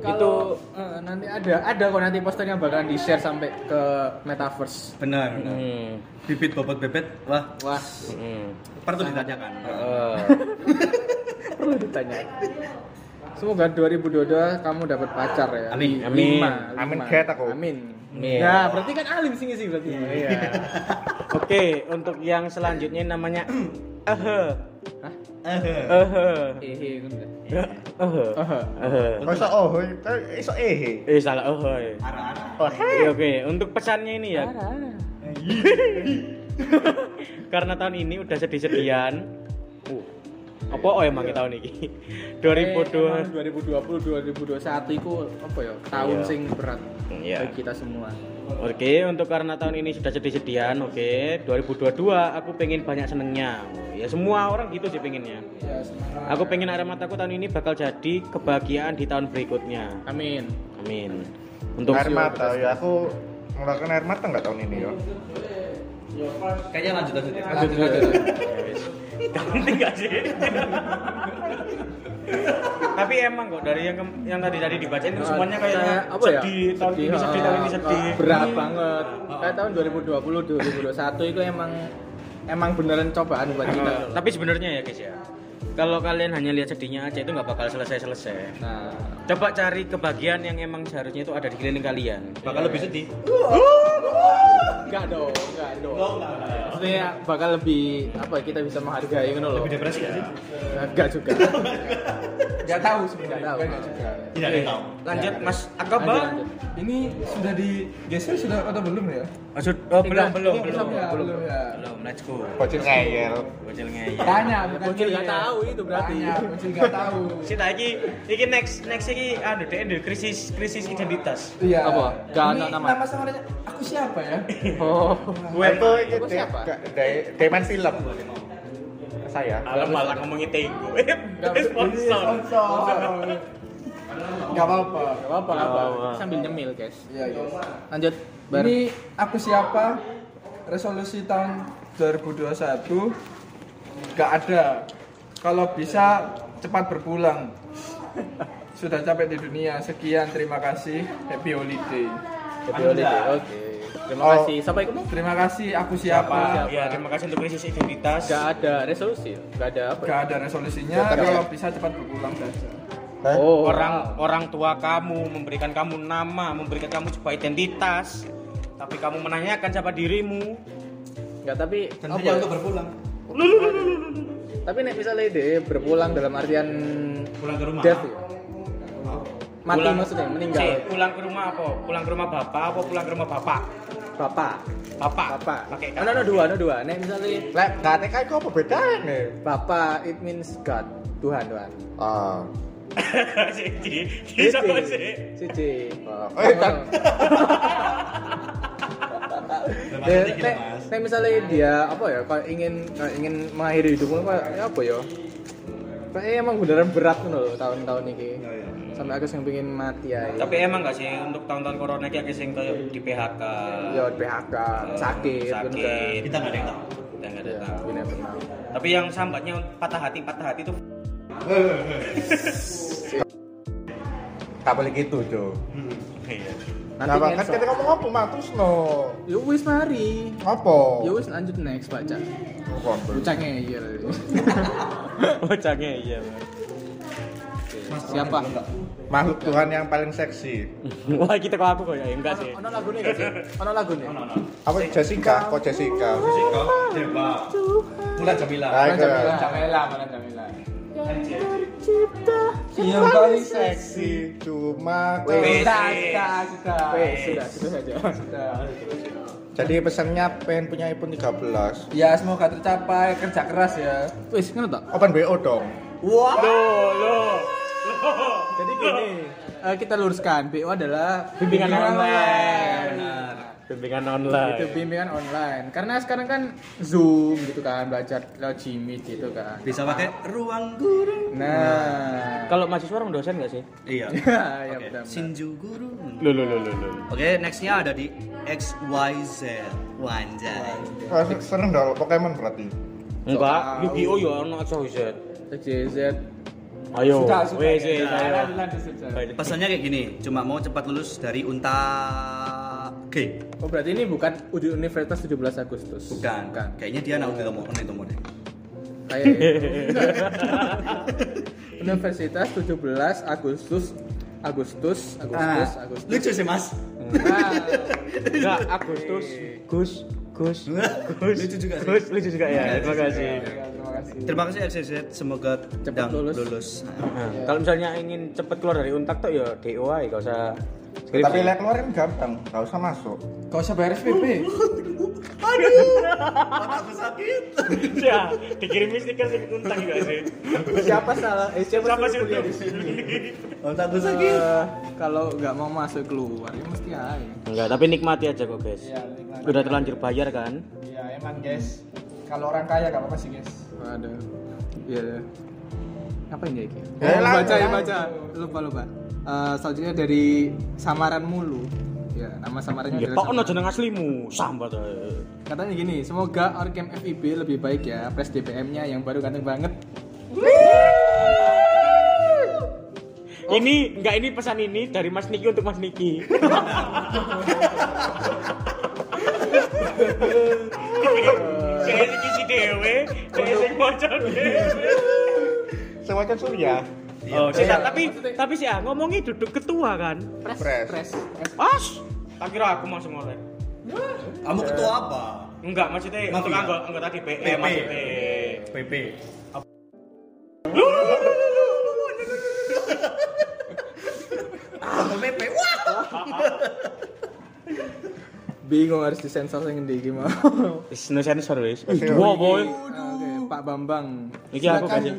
A: Itu
B: Kalau eh, nanti ada ada kok nanti posternya bakalan di share sampai ke metaverse.
D: Benar. benar.
A: hmm,
D: Bibit bobot bebet, wah
B: Wah,
A: hmm.
D: perlu ditanyakan.
A: Eh,
B: perlu ditanya. Semoga 2022 kamu dapat pacar ya.
D: Amin.
A: Amin.
B: Lima,
C: Amin
B: lima.
C: get aku.
B: Amin.
A: Amin.
B: Nah, berarti kan alim sih sih berarti. Iya.
A: Oke, untuk yang selanjutnya namanya Ehe.
D: Eh,
A: Ehe.
B: Hehe.
A: Ehe. Ehe.
C: Kau iso oh, kau iso eh.
A: Eh salah ehe.
D: Arah-arah.
C: Oh,
A: Oke, oke, untuk pesannya ini ya. Karena tahun ini udah sedih-sedian. Uh. Apa oh emangnya tahun ini?
B: Eh,
A: 2002.
B: 2020 2021 itu apa ya? Tahun
A: Iya.
B: sing berat
A: Iya.
B: bagi kita semua.
A: Oke, untuk karena tahun ini sudah sedih-sedian, oke. 2022 aku pengen banyak senengnya. Oh, Ya semua orang gitu sih pengennya.
B: Ya, semangat.
A: Aku pengen air mataku tahun ini bakal jadi kebahagiaan di tahun berikutnya.
B: Amin.
A: Amin. Untuk
C: Air mata ya aku mengeluarkan air mata nggak tahun ini ya.
D: Kayaknya lanjut lanjut. ya.
B: Lanjut
A: Iya.
B: lanjut.
A: Ganti nggak sih? Tapi emang kok dari yang kem- yang tadi tadi dibacain itu semuanya kayaknya
B: Nah, apa ya?
A: sedih, tahun ini sedih,
B: ah,
A: tahun ini sedih.
B: Berat banget. Kayak tahun 2020 2021 itu emang emang beneran cobaan buat kita.
A: Eh, Tapi sebenarnya ya guys ya, kalau kalian hanya lihat sedihnya aja itu nggak bakal selesai-selesai.
B: Nah,
A: Coba cari kebahagiaan yang emang seharusnya itu ada di keliling kalian.
D: Bakal lebih sedih.
B: enggak dong, Oh, enggak dong. Maksudnya bakal lebih apa ya, kita bisa menghargai ngono loh.
D: Lebih depresi ya sih?
B: Enggak juga.
E: Gak tahu
B: Enggak
E: sebenarnya.
B: tahu.
E: Enggak juga.
D: Tidak ada yang tahu.
A: Lanjut Mas
B: Lanjut,
A: Akaba.
B: lanjut.
E: Ini sudah digeser sudah atau belum ya?
A: Maksud oh, belum
B: Enggak,
A: belum
B: ini
A: belum
B: belum ya,
A: belum
E: belum ya.
A: belum let's go.
C: Bocil ngeyel.
A: Bocil ngeyel.
E: Tanya, bukan
B: Bocil
E: iya.
B: nggak tahu itu berarti.
E: Tanya, Bocil nggak tahu.
A: Sih tak iki iki next next iki anu deh ada krisis krisis identitas.
E: Iya.
B: Apa? Nggak
E: Ini
B: ada nama.
E: Nama samarannya aku siapa ya?
B: Oh.
C: Aku ini
B: Aku siapa?
C: de- de- demen film. Saya.
A: Alam malah ngomongin tenggo.
E: Nggak- ini
A: Sponsor.
E: Sponsor. Gak apa-apa.
B: Enggak apa-apa, nggak apa-apa. Sambil nyemil, guys.
E: Iya, iya.
B: Lanjut. Bar.
E: Ini aku siapa? Resolusi tahun 2021 gak ada. Kalau bisa cepat berpulang. Sudah capek di dunia. Sekian, terima kasih. Happy holiday.
B: Happy holiday. Oke. Terima
C: Oh.
B: kasih. Sampai ketemu.
E: Terima kasih aku siapa.
D: Iya,
A: Ya terima kasih untuk krisis identitas.
B: Enggak ada resolusi. Enggak ada apa. ya?
E: Gak ada resolusinya. Kalau bisa cepat berpulang saja.
B: Oh,
A: Orang orang tua kamu memberikan kamu nama, memberikan kamu sebuah identitas, tapi kamu menanyakan siapa dirimu.
B: Enggak tapi
D: Tentunya
B: ya?
D: untuk berpulang.
B: Tapi nek misalnya dia berpulang dalam artian
A: pulang ke rumah
B: death ya. Mati
A: Pulang-
B: maksudnya meninggal.
A: Cek, pulang ke rumah apa pulang ke rumah bapak apa pulang ke rumah bapak
B: Bapak.
A: bapak
B: Bapak.
A: pakai
B: Ono ono dua, ono dua. Nek misalnya
C: Lek, gak TK itu apa bedanya?
B: Bapak it means God, Tuhan, Tuhan.
C: Ah,
A: siji siapa sih
B: Siji.
C: ah. eh kan,
B: Eh,
D: Maksudnya gini, Mas.
B: Nek misalnya dia apa ya, kalau ingin kalau ingin mengakhiri hidupmu kayak ya apa ya? Kayaknya emang beneran berat ngono loh tahun-tahun ini.
D: Oh, iya.
B: Sampai aku yang pengen mati ya.
A: tapi emang gak sih untuk tahun-tahun corona kayak sing kayak di PHK
B: Ya PHK, sakit,
A: sakit.
B: bener kan?
D: kita nggak ada yang tahu
A: kita nggak ada
B: Ya,
A: tahu.
B: bener bener.
A: tapi yang sambatnya patah hati patah hati itu
C: gak boleh gitu, Jo.
A: iya
B: Nanti
C: Nah, kan
B: ngesot.
C: kita ngomong apa, Mak? Terus no.
B: Ya wis mari.
C: Apa?
B: Ya wis lanjut next Pak Cak. iya.
C: Bukan.
B: Ucak ngeyel.
A: bocahnya iya
B: Siapa?
C: Makhluk Tuhan yang paling seksi.
A: wah kita kok aku kok ya enggak sih
B: Ono lagune gak sih? Ono lagune.
C: Apa Jessica? Kok Jessica?
D: sih kau coba Mulan Jamila
C: Nah,
B: Kan
C: itu.
B: Jamila.
E: Camela, mana Camela?
A: Iya,
C: Yang paling seksi cuma kau.
B: Weh.
E: Sudah, sudah, sudah.
B: Weh, sudah, sudah saja.
E: Sudah.
C: Jadi pesannya pengen punya iPhone 13.
E: Ya semoga tercapai kerja keras ya.
B: Wis ngono tak?
C: Open BO dong.
B: Wah.
A: lo
B: Jadi gini, eh, kita luruskan BO adalah
A: Bimbingan online.
B: Benar.
A: bimbingan
B: Itu
A: online
B: bimbingan online. Karena sekarang kan Zoom gitu kan, belajar lewat Jimmy gitu kan.
D: bisa pakai ruang guru
B: Nah,
A: kalau mahasiswa orang dosen nggak sih
D: iya
B: ya, ya
D: Oke.
B: benar.
D: Shinju guru
A: lo lo lo lo lo
D: Oke, nextnya ada di XYZ Wanjai.
C: Ah, Serem dong Pokemon berarti.
A: enggak
B: Soal-
A: Yu-Gi-Oh ya ono aja wizard
B: TJZ.
A: ayo
E: Sudah, sudah.
A: wes
E: ya.
A: wes ayo
E: Lanjut, lanjut, sudah.
D: Pesannya kayak gini, cuma mau cepat lulus dari unta G.
B: Oh, berarti ini bukan Udi Universitas 17 Agustus.
D: Bukan.
B: Bukan.
D: Kayaknya dia anak udah mau itu mau deh.
B: Kayak gitu. itu. Universitas 17 Agustus Agustus Agustus Agustus.
D: Lucu sih mas.
B: Nah,
A: enggak Agustus Gus Gus Gus
D: Lucu juga sih.
A: Gus lucu juga ya terima kasih
E: Terima kasih.
D: Terima kasih XYZ, semoga
B: Cepat
D: sedang
B: lulus.
A: Nah, kalau misalnya ingin cepet keluar dari untak tuh ya DOI gak usah skripsi.
C: Tapi lek keluarin gampang, gak usah masuk.
E: Kau usah bayar SPP.
D: Aku sakit.
A: ya dikirim stiker sing untak juga sih
B: siapa salah eh, siapa,
A: Siapa
B: suruh
A: sih
B: kuliah
A: untung?
B: di sini
D: Aku sakit.
B: Eh, kalau nggak mau masuk keluar ya mesti aja
A: enggak tapi nikmati aja kok guys
E: Iya, nikmati.
A: udah terlanjur bayar kan
E: Iya, emang guys. Kalau orang kaya gak apa-apa sih guys.
B: waduh iya iya. apa ini Iki?
C: Eh,
B: Oh,
C: lah,
B: baca ya
C: lah.
B: baca lupa lupa Eh, selanjutnya dari samaran mulu ya nama samarannya
A: ya
B: adalah
A: kok ono
B: samaran.
A: jeneng aslimu sambat ae.
B: katanya gini semoga orkem FIB lebih baik ya pres DPM nya yang baru ganteng banget
A: ini enggak ini pesan ini dari Mas Niki untuk Mas Niki Saya sing isi dewe, saya sing maca dewe.
C: Semacam surya.
A: Oh, sih, tapi tapi sih ah, ngomongi duduk ketua kan.
C: Pres.
B: pres
A: Pas. Tak kira aku masuk ngorek.
D: Kamu ketua apa?
A: Enggak, maksudnya
D: Maaf,
A: untuk
D: iya.
A: anggota anggota DPR
D: PP.
A: maksudnya.
D: PP. Apa PP? Wah.
B: bingung harus disensor yang di gimana
A: Wis no sensor wis.
C: Oke,
A: Dua boy.
B: Oke, Pak Bambang
A: Iki aku kasih.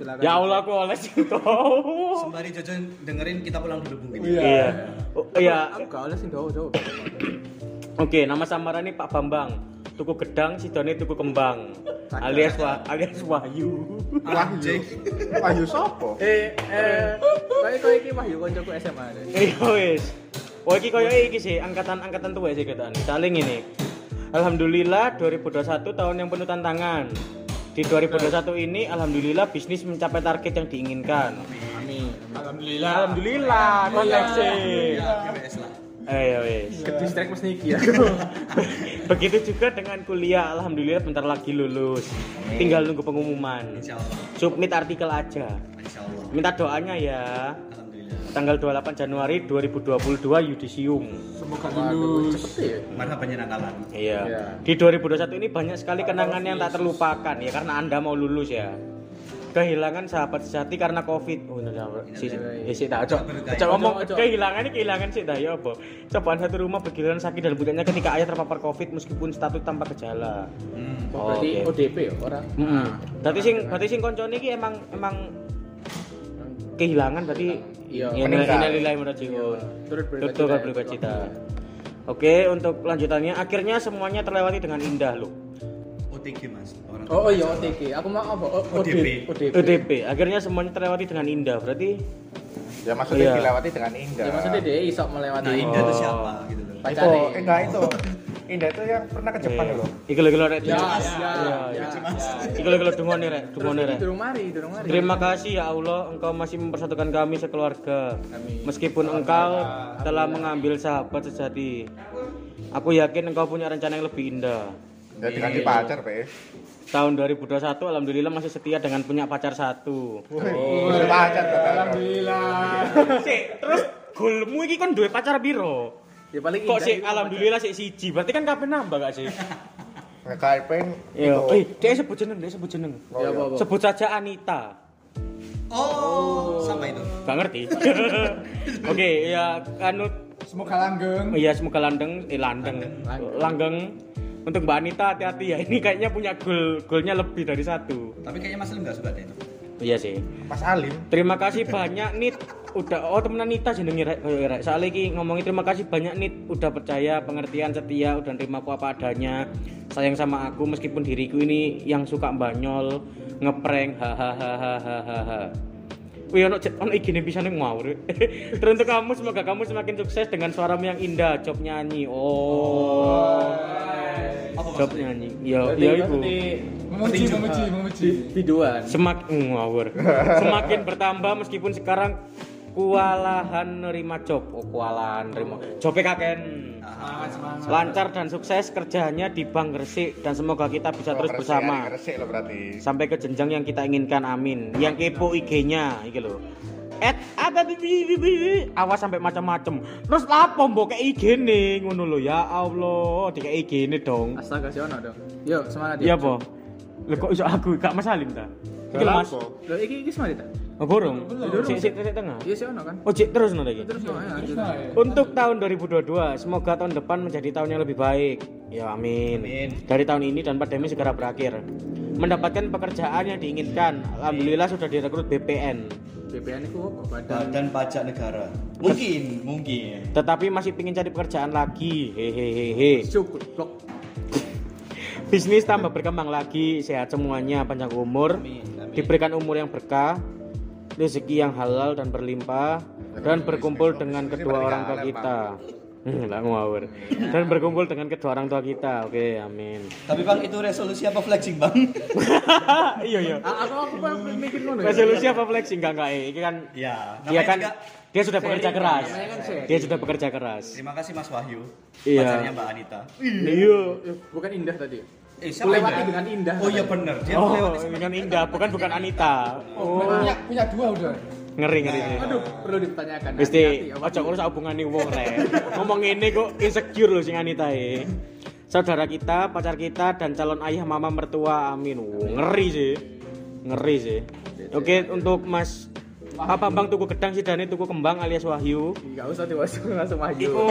B: silakan
A: Ya Allah aku oles itu.
D: Sembari Jojo dengerin kita pulang dulu mungkin.
A: Iya. Oh, Iya.
B: aku gak oleh sih jauh jauh
A: Oke, nama samaran Pak Bambang. Tuku gedang, sidone tuku kembang. Alias wa, alias Wahyu.
B: Ah.
C: Wahyu. Wahyu sopo?
B: eh eh kayak kayak ini mah yuk koncoku SMA deh
A: Iya wis. Wah iki koyo iki sih angkatan-angkatan tua sih ketan. Saling ini. Alhamdulillah 2021 tahun yang penuh tantangan. Di 2021 ini alhamdulillah bisnis mencapai target yang diinginkan.
B: amin
E: Alhamdulillah.
A: Alhamdulillah konteks
D: PPS lah.
A: Ayo wis.
B: ke distrik mas Niki ya
A: Begitu juga dengan kuliah alhamdulillah bentar lagi lulus. Tinggal nunggu pengumuman.
D: Insya Allah.
A: Submit artikel aja.
D: Insya Allah.
A: Minta doanya ya.
D: Alhamdulillah.
A: tanggal 28 Januari 2022 Yudisium.
E: Semoga
B: Waduh,
E: lulus.
B: cepet ya.
D: Mana penyenangan?
A: Iya.
B: Iya.
A: Di 2021 ini banyak sekali kenangan yang tak terlupakan ya karena Anda mau lulus ya. Kehilangan sahabat sejati karena Covid. Oh, bener, bener. si, eh, si, tak, cok. Cok, ngomong kehilangan ini kehilangan sih dah ya apa. Cobaan satu rumah bergiliran sakit dan bukannya ketika ayah terpapar Covid meskipun status tanpa gejala.
D: Hmm.
B: Oh, berarti
A: oke.
B: ODP ya orang.
A: Heeh. Berarti sing berarti sing koncone iki emang emang kehilangan berarti
B: Iya,
A: ya
B: meninggal.
A: innalillahi wa inna ilaihi raji'un.
B: Turut berduka
A: Betul
B: cita
A: kan
B: ya.
A: berduka cita. Oke, untuk lanjutannya akhirnya semuanya terlewati dengan indah loh.
D: OTG mas. Orang
B: Oh, oh iya OTG. Aku mau apa? O-
D: ODP.
B: ODP.
A: EDP, akhirnya semuanya terlewati dengan indah. Berarti
C: ya maksudnya
A: Iya.
C: dilewati dengan indah
B: Ya maksudnya dia iso melewati
D: Nah Indah itu siapa gitu loh.
C: itu
B: pacare.
C: eh, enggak itu indah itu yang pernah ke Jepang loh
A: Iki lho iki lho rek.
B: Ya,
A: Iya,
B: ya, ya.
A: Iki lho iki lho dungone rek, dungone
B: Terus
A: rek.
B: ini Eh, durung mari, durung mari.
A: Terima kasih ya Allah, Engkau masih mempersatukan kami sekeluarga. Meskipun Engkau telah mengambil sahabat sejati, aku yakin Engkau punya rencana yang lebih indah.
C: dan diganti
A: Iya.
C: pacar
A: Oh.
C: pe
A: Tahun 2021, alhamdulillah masih setia dengan punya pacar satu.
C: Wih, pacar
A: Iya.
C: kata
E: Alhamdulillah.
A: Sik, terus golmu iki kan duwe pacar biro?
B: Ya paling
A: Kok
B: indah
A: sih
B: itu.
A: alhamdulillah sih siji, berarti kan kabeh nambah gak sih?
C: ngekai peng
A: Iya.
C: itu.
A: Eh, dia sebut jeneng, dia sebut jeneng.
B: Ya apa apa.
A: Sebut saja Iya. Anita.
D: Oh, sama itu.
A: Gak ngerti. Oke, ya anu
E: Semoga langgeng.
A: Iya, semoga landeng, eh landeng, langgeng. Untuk Mbak Anita hati-hati ya, ini kayaknya punya goal, goalnya lebih dari satu.
D: Tapi kayaknya Mas Lim nggak suka deh itu.
A: Iya sih.
C: Mas Alim
A: Terima kasih banyak Nit. Udah, oh temenan Nita jenenge rek, koyo rek. Soale iki ngomongin terima kasih banyak Nit, udah percaya, pengertian, setia, udah nerima aku apa adanya. Sayang sama aku meskipun diriku ini yang suka banyol, ngeprank, hahaha. Wih, ono cet- ono igine bisa nih mau. Rek. Teruntuk kamu, semoga kamu semakin sukses dengan suaramu yang indah, job nyanyi. Oh,
D: Apa
A: job
D: maksudnya?
A: nyanyi. Ya,
B: Oh, Berarti-
A: ya ibu.
B: berarti
E: Memuji, memuji,
B: ah,
E: memuji.
B: biduan.
A: Semakin ngawur. Semakin bertambah meskipun sekarang kualahan nerima job. Oh, kualahan nerima. Job kaken. Lancar dan sukses kerjanya di Bank Gresik dan semoga kita bisa terus
C: Resik,
A: bersama
C: resik lo berarti
A: sampai ke jenjang yang kita inginkan. Amin. Yang kepo IG-nya iki lho. At apa bi- bi- bi- bi- awas sampai macam-macam. Terus lapo mbok kayak IG-ne ngono lho ya Allah, dikek IG-ne dong.
B: Astaga si ono dong. Yo, semangat ya.
A: Iya po. Lho kok iso aku gak masalim ta? Iki lho, Mas.
C: Lapo.
B: Loh, iki iki semangat ta?
A: Oh, gorong. Cek cek cek tengah.
B: Iya si ono kan.
A: Oh, cek terus nanti.
B: Terus no ya. lanjut.
A: Untuk tahun 2022, semoga tahun depan menjadi tahun yang lebih baik. Ya amin.
D: Amin.
A: Dari tahun ini dan pandemi segera berakhir. Mendapatkan pekerjaan yang diinginkan. Alhamdulillah sudah direkrut BPN.
B: BPN itu apa? Badan
D: Badan Pajak Negara. Mungkin, mungkin.
A: Tetapi masih pingin cari pekerjaan lagi. Hehehehe.
B: cukup blok.
A: Bisnis tambah berkembang lagi, sehat semuanya, panjang umur, diberikan umur yang berkah, rezeki yang halal dan berlimpah, dan berkumpul dengan kedua orang tua kita. Hmm, lah ngawur. Dan berkumpul dengan kedua orang tua kita. Oke, amin.
D: Tapi bang itu resolusi apa flexing bang?
A: iya, iya.
B: Ah, Aku aku pengen mikir ngono. ya.
A: Resolusi apa flexing enggak enggak? eh. Ini kan
D: ya.
A: dia
D: namanya
A: kan
D: juga-
A: dia sudah bekerja keras.
B: namanya kan sharing.
A: Dia sudah bekerja keras.
D: Terima kasih Mas Wahyu.
A: Iya.
D: Pacarnya Mbak Anita.
A: Iya.
B: Eh, Bukan indah tadi.
D: Eh, siapa
B: Melewati
D: ini?
B: dengan indah.
D: Oh iya bener. Dia
A: Oh,
D: melewati
A: dengan Indah, bukan bukan Anita. Oh,
E: Punya, punya dua udah.
A: ngeri ngeri. ngeri.
B: Aduh, perlu dipertanyakan.
A: Mesti
B: Hati-hati, ya,
A: ojo ngurus hubungane wong rek. Ngomong ngene kok insecure lho sing Anita e. Saudara kita, pacar kita dan calon ayah mama mertua. Amin. Wuh, ngeri sih. Ngeri sih. Oke, untuk Mas apa Bang tuku gedang sidane tuku kembang alias Wahyu.
B: Enggak usah dewasa langsung maju.
A: Iku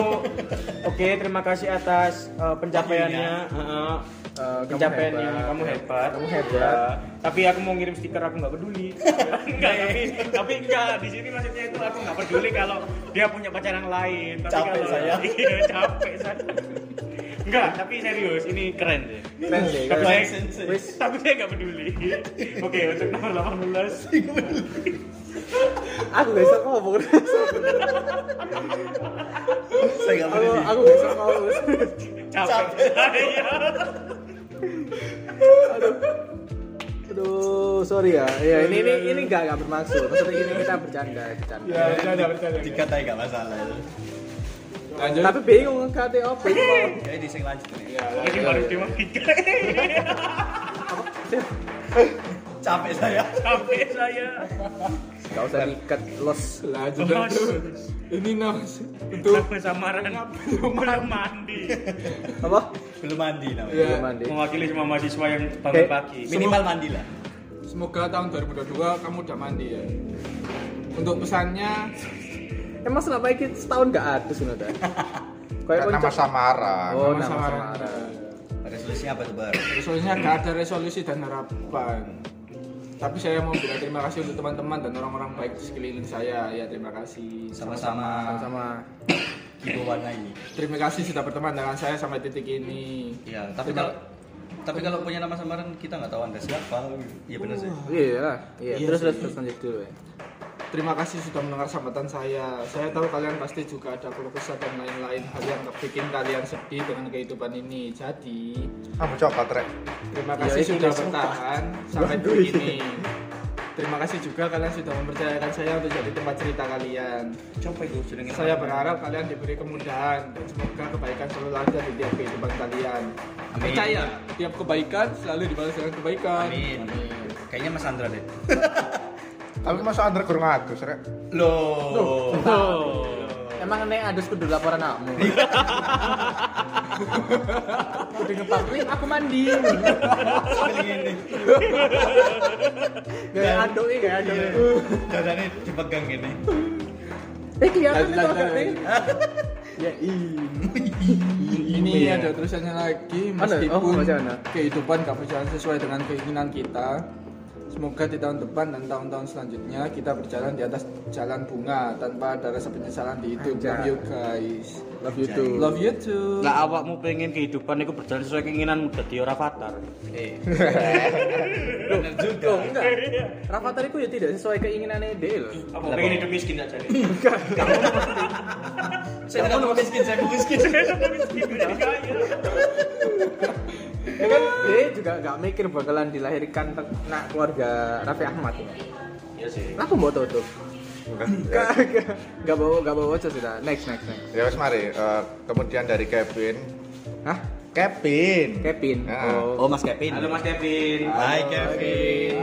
A: oke, terima kasih atas uh, pencapaiannya. Heeh.
B: Eh, kamu
A: pencapaiannya
B: hebat.
A: kamu hebat.
B: Kamu hebat.
A: Ya, tapi aku mau ngirim stiker aku nggak peduli. Iya. enggak, tapi, tapi enggak di sini maksudnya itu aku nggak peduli kalau dia punya pacar yang lain. Tapi
D: Capek
A: kalau,
D: saya.
A: Iya, capek saya. Enggak, tapi serius, ini keren deh.
B: Keren sih,
A: Tapi
B: keren.
A: saya,
D: sensei.
A: tapi saya nggak peduli. Oke, untuk nomor 18.
B: Aku besok ngomong.
D: Saya nggak
B: Aku
D: boleh.
B: aku besok ngomong.
A: Capek. saya.
B: Aduh, sorry ya. Ya ini ini ini enggak enggak bermaksud. Maksudnya ini kita bercanda, bercanda.
E: Ya, ya, ya, bercanda.
D: Dikatai nggak masalah.
E: Lanjut.
B: Tapi bingung kan, kate opo itu mau.
D: Jadi di sing lanjut nih.
A: Ini baru dia mau nikah.
D: capek saya
F: Capek saya.
B: Gak usah diikat los.
E: lanjut lanjut ini nos untuk
F: Sampai samaran. Belum mandi.
B: Apa?
D: belum mandi namanya
B: Belum
E: ya,
B: mandi.
F: Mewakili semua mahasiswa yang bangun
B: Eh,
F: pagi.
D: minimal mandi lah
E: semoga tahun 2022 kamu udah mandi ya untuk pesannya
B: Emang selama ini setahun gak ada sunatan. Kayak
C: Kan nama
B: konco-
C: samaran.
B: Oh,
E: nama
B: nama
E: samaran.
B: samaran.
D: resolusinya apa tuh bar
E: Resolusinya nggak ada resolusi dan harapan. Tapi saya mau bilang terima kasih untuk teman-teman dan orang-orang baik di sekeliling saya. Ya terima kasih.
D: sama-sama
B: Sama
D: Kibo warna ini
E: Terima kasih sudah berteman dengan saya sampai titik ini.
D: Iya, tapi kalau tapi kalau punya nama samaran kita nggak tahu anda siapa. Iya benar sih.
B: Iya lah. Iya, terus terus terus lanjut dulu ya.
E: Terima kasih sudah mendengar sambatan saya. Saya tahu kalian pasti juga ada keluh kesah dan lain-lain hal yang bikin kalian sedih dengan kehidupan ini. Jadi
C: Kamu coba trek.
E: terima kasih
B: Iya, itu
E: sudah
B: dia, sumpah.
E: bertahan sampai titik ini. Terima kasih juga kalian sudah mempercayakan saya untuk jadi tempat cerita kalian.
D: Coba itu sedang
B: Iya.
E: Saya berharap kalian diberi kemudahan dan semoga kebaikan selalu ada di tiap kehidupan kalian.
D: Amin.
E: Percaya, tiap kebaikan selalu dibalas dengan kebaikan.
D: Amin. Kayaknya Mas Andra deh.
C: Tapi masuk underground ngatus trek.
D: Loh.
B: Emang nek ada kudu laporan kamu. Kudu ngepak, "Wih, aku mandi. Gak aduk ya, gak
D: Iya.
B: aduk.
D: Dadanya dipegang gini.
B: Eh kelihatan
E: Lanjut,
B: itu
E: lanjut,
B: aduknya.
E: lanjut.
B: Ya iya.
E: Ini
B: Iya.
E: ada tulisannya lagi
B: Ada? Oh,
E: meskipun
B: baca mana?
E: kehidupan gak berjalan sesuai dengan keinginan kita. Semoga di tahun depan dan tahun-tahun selanjutnya kita berjalan di atas jalan bunga tanpa ada rasa penyesalan di hidup.
B: Anjay.
E: Love you guys.
B: Love you too.
E: Love you too.
A: Lah awakmu pengen kehidupan itu berjalan sesuai keinginanmu dadi ora fatar.
D: Eh.
B: Bener juga. enggak. Rafathar itu ya tidak sesuai keinginannya dia loh.
F: Apa pengen hidup miskin aja nih?
D: Saya nggak mau miskin, saya mau miskin.
F: Miskin jadi kaya.
B: Ya kan dia juga nggak mikir bakalan dilahirkan te- nak keluarga Raffi Ahmad ya.
F: Iya sih.
B: Aku mau tutup. Kagak. Gak bawa gak bawa aja sudah. Next next next.
C: Ya wes mari. Eh, kemudian dari Kevin.
B: Hah?
C: Kevin.
B: Kevin.
C: Nah.
D: Oh Mas Kevin.
A: Halo Mas Kevin.
D: Hai Kevin.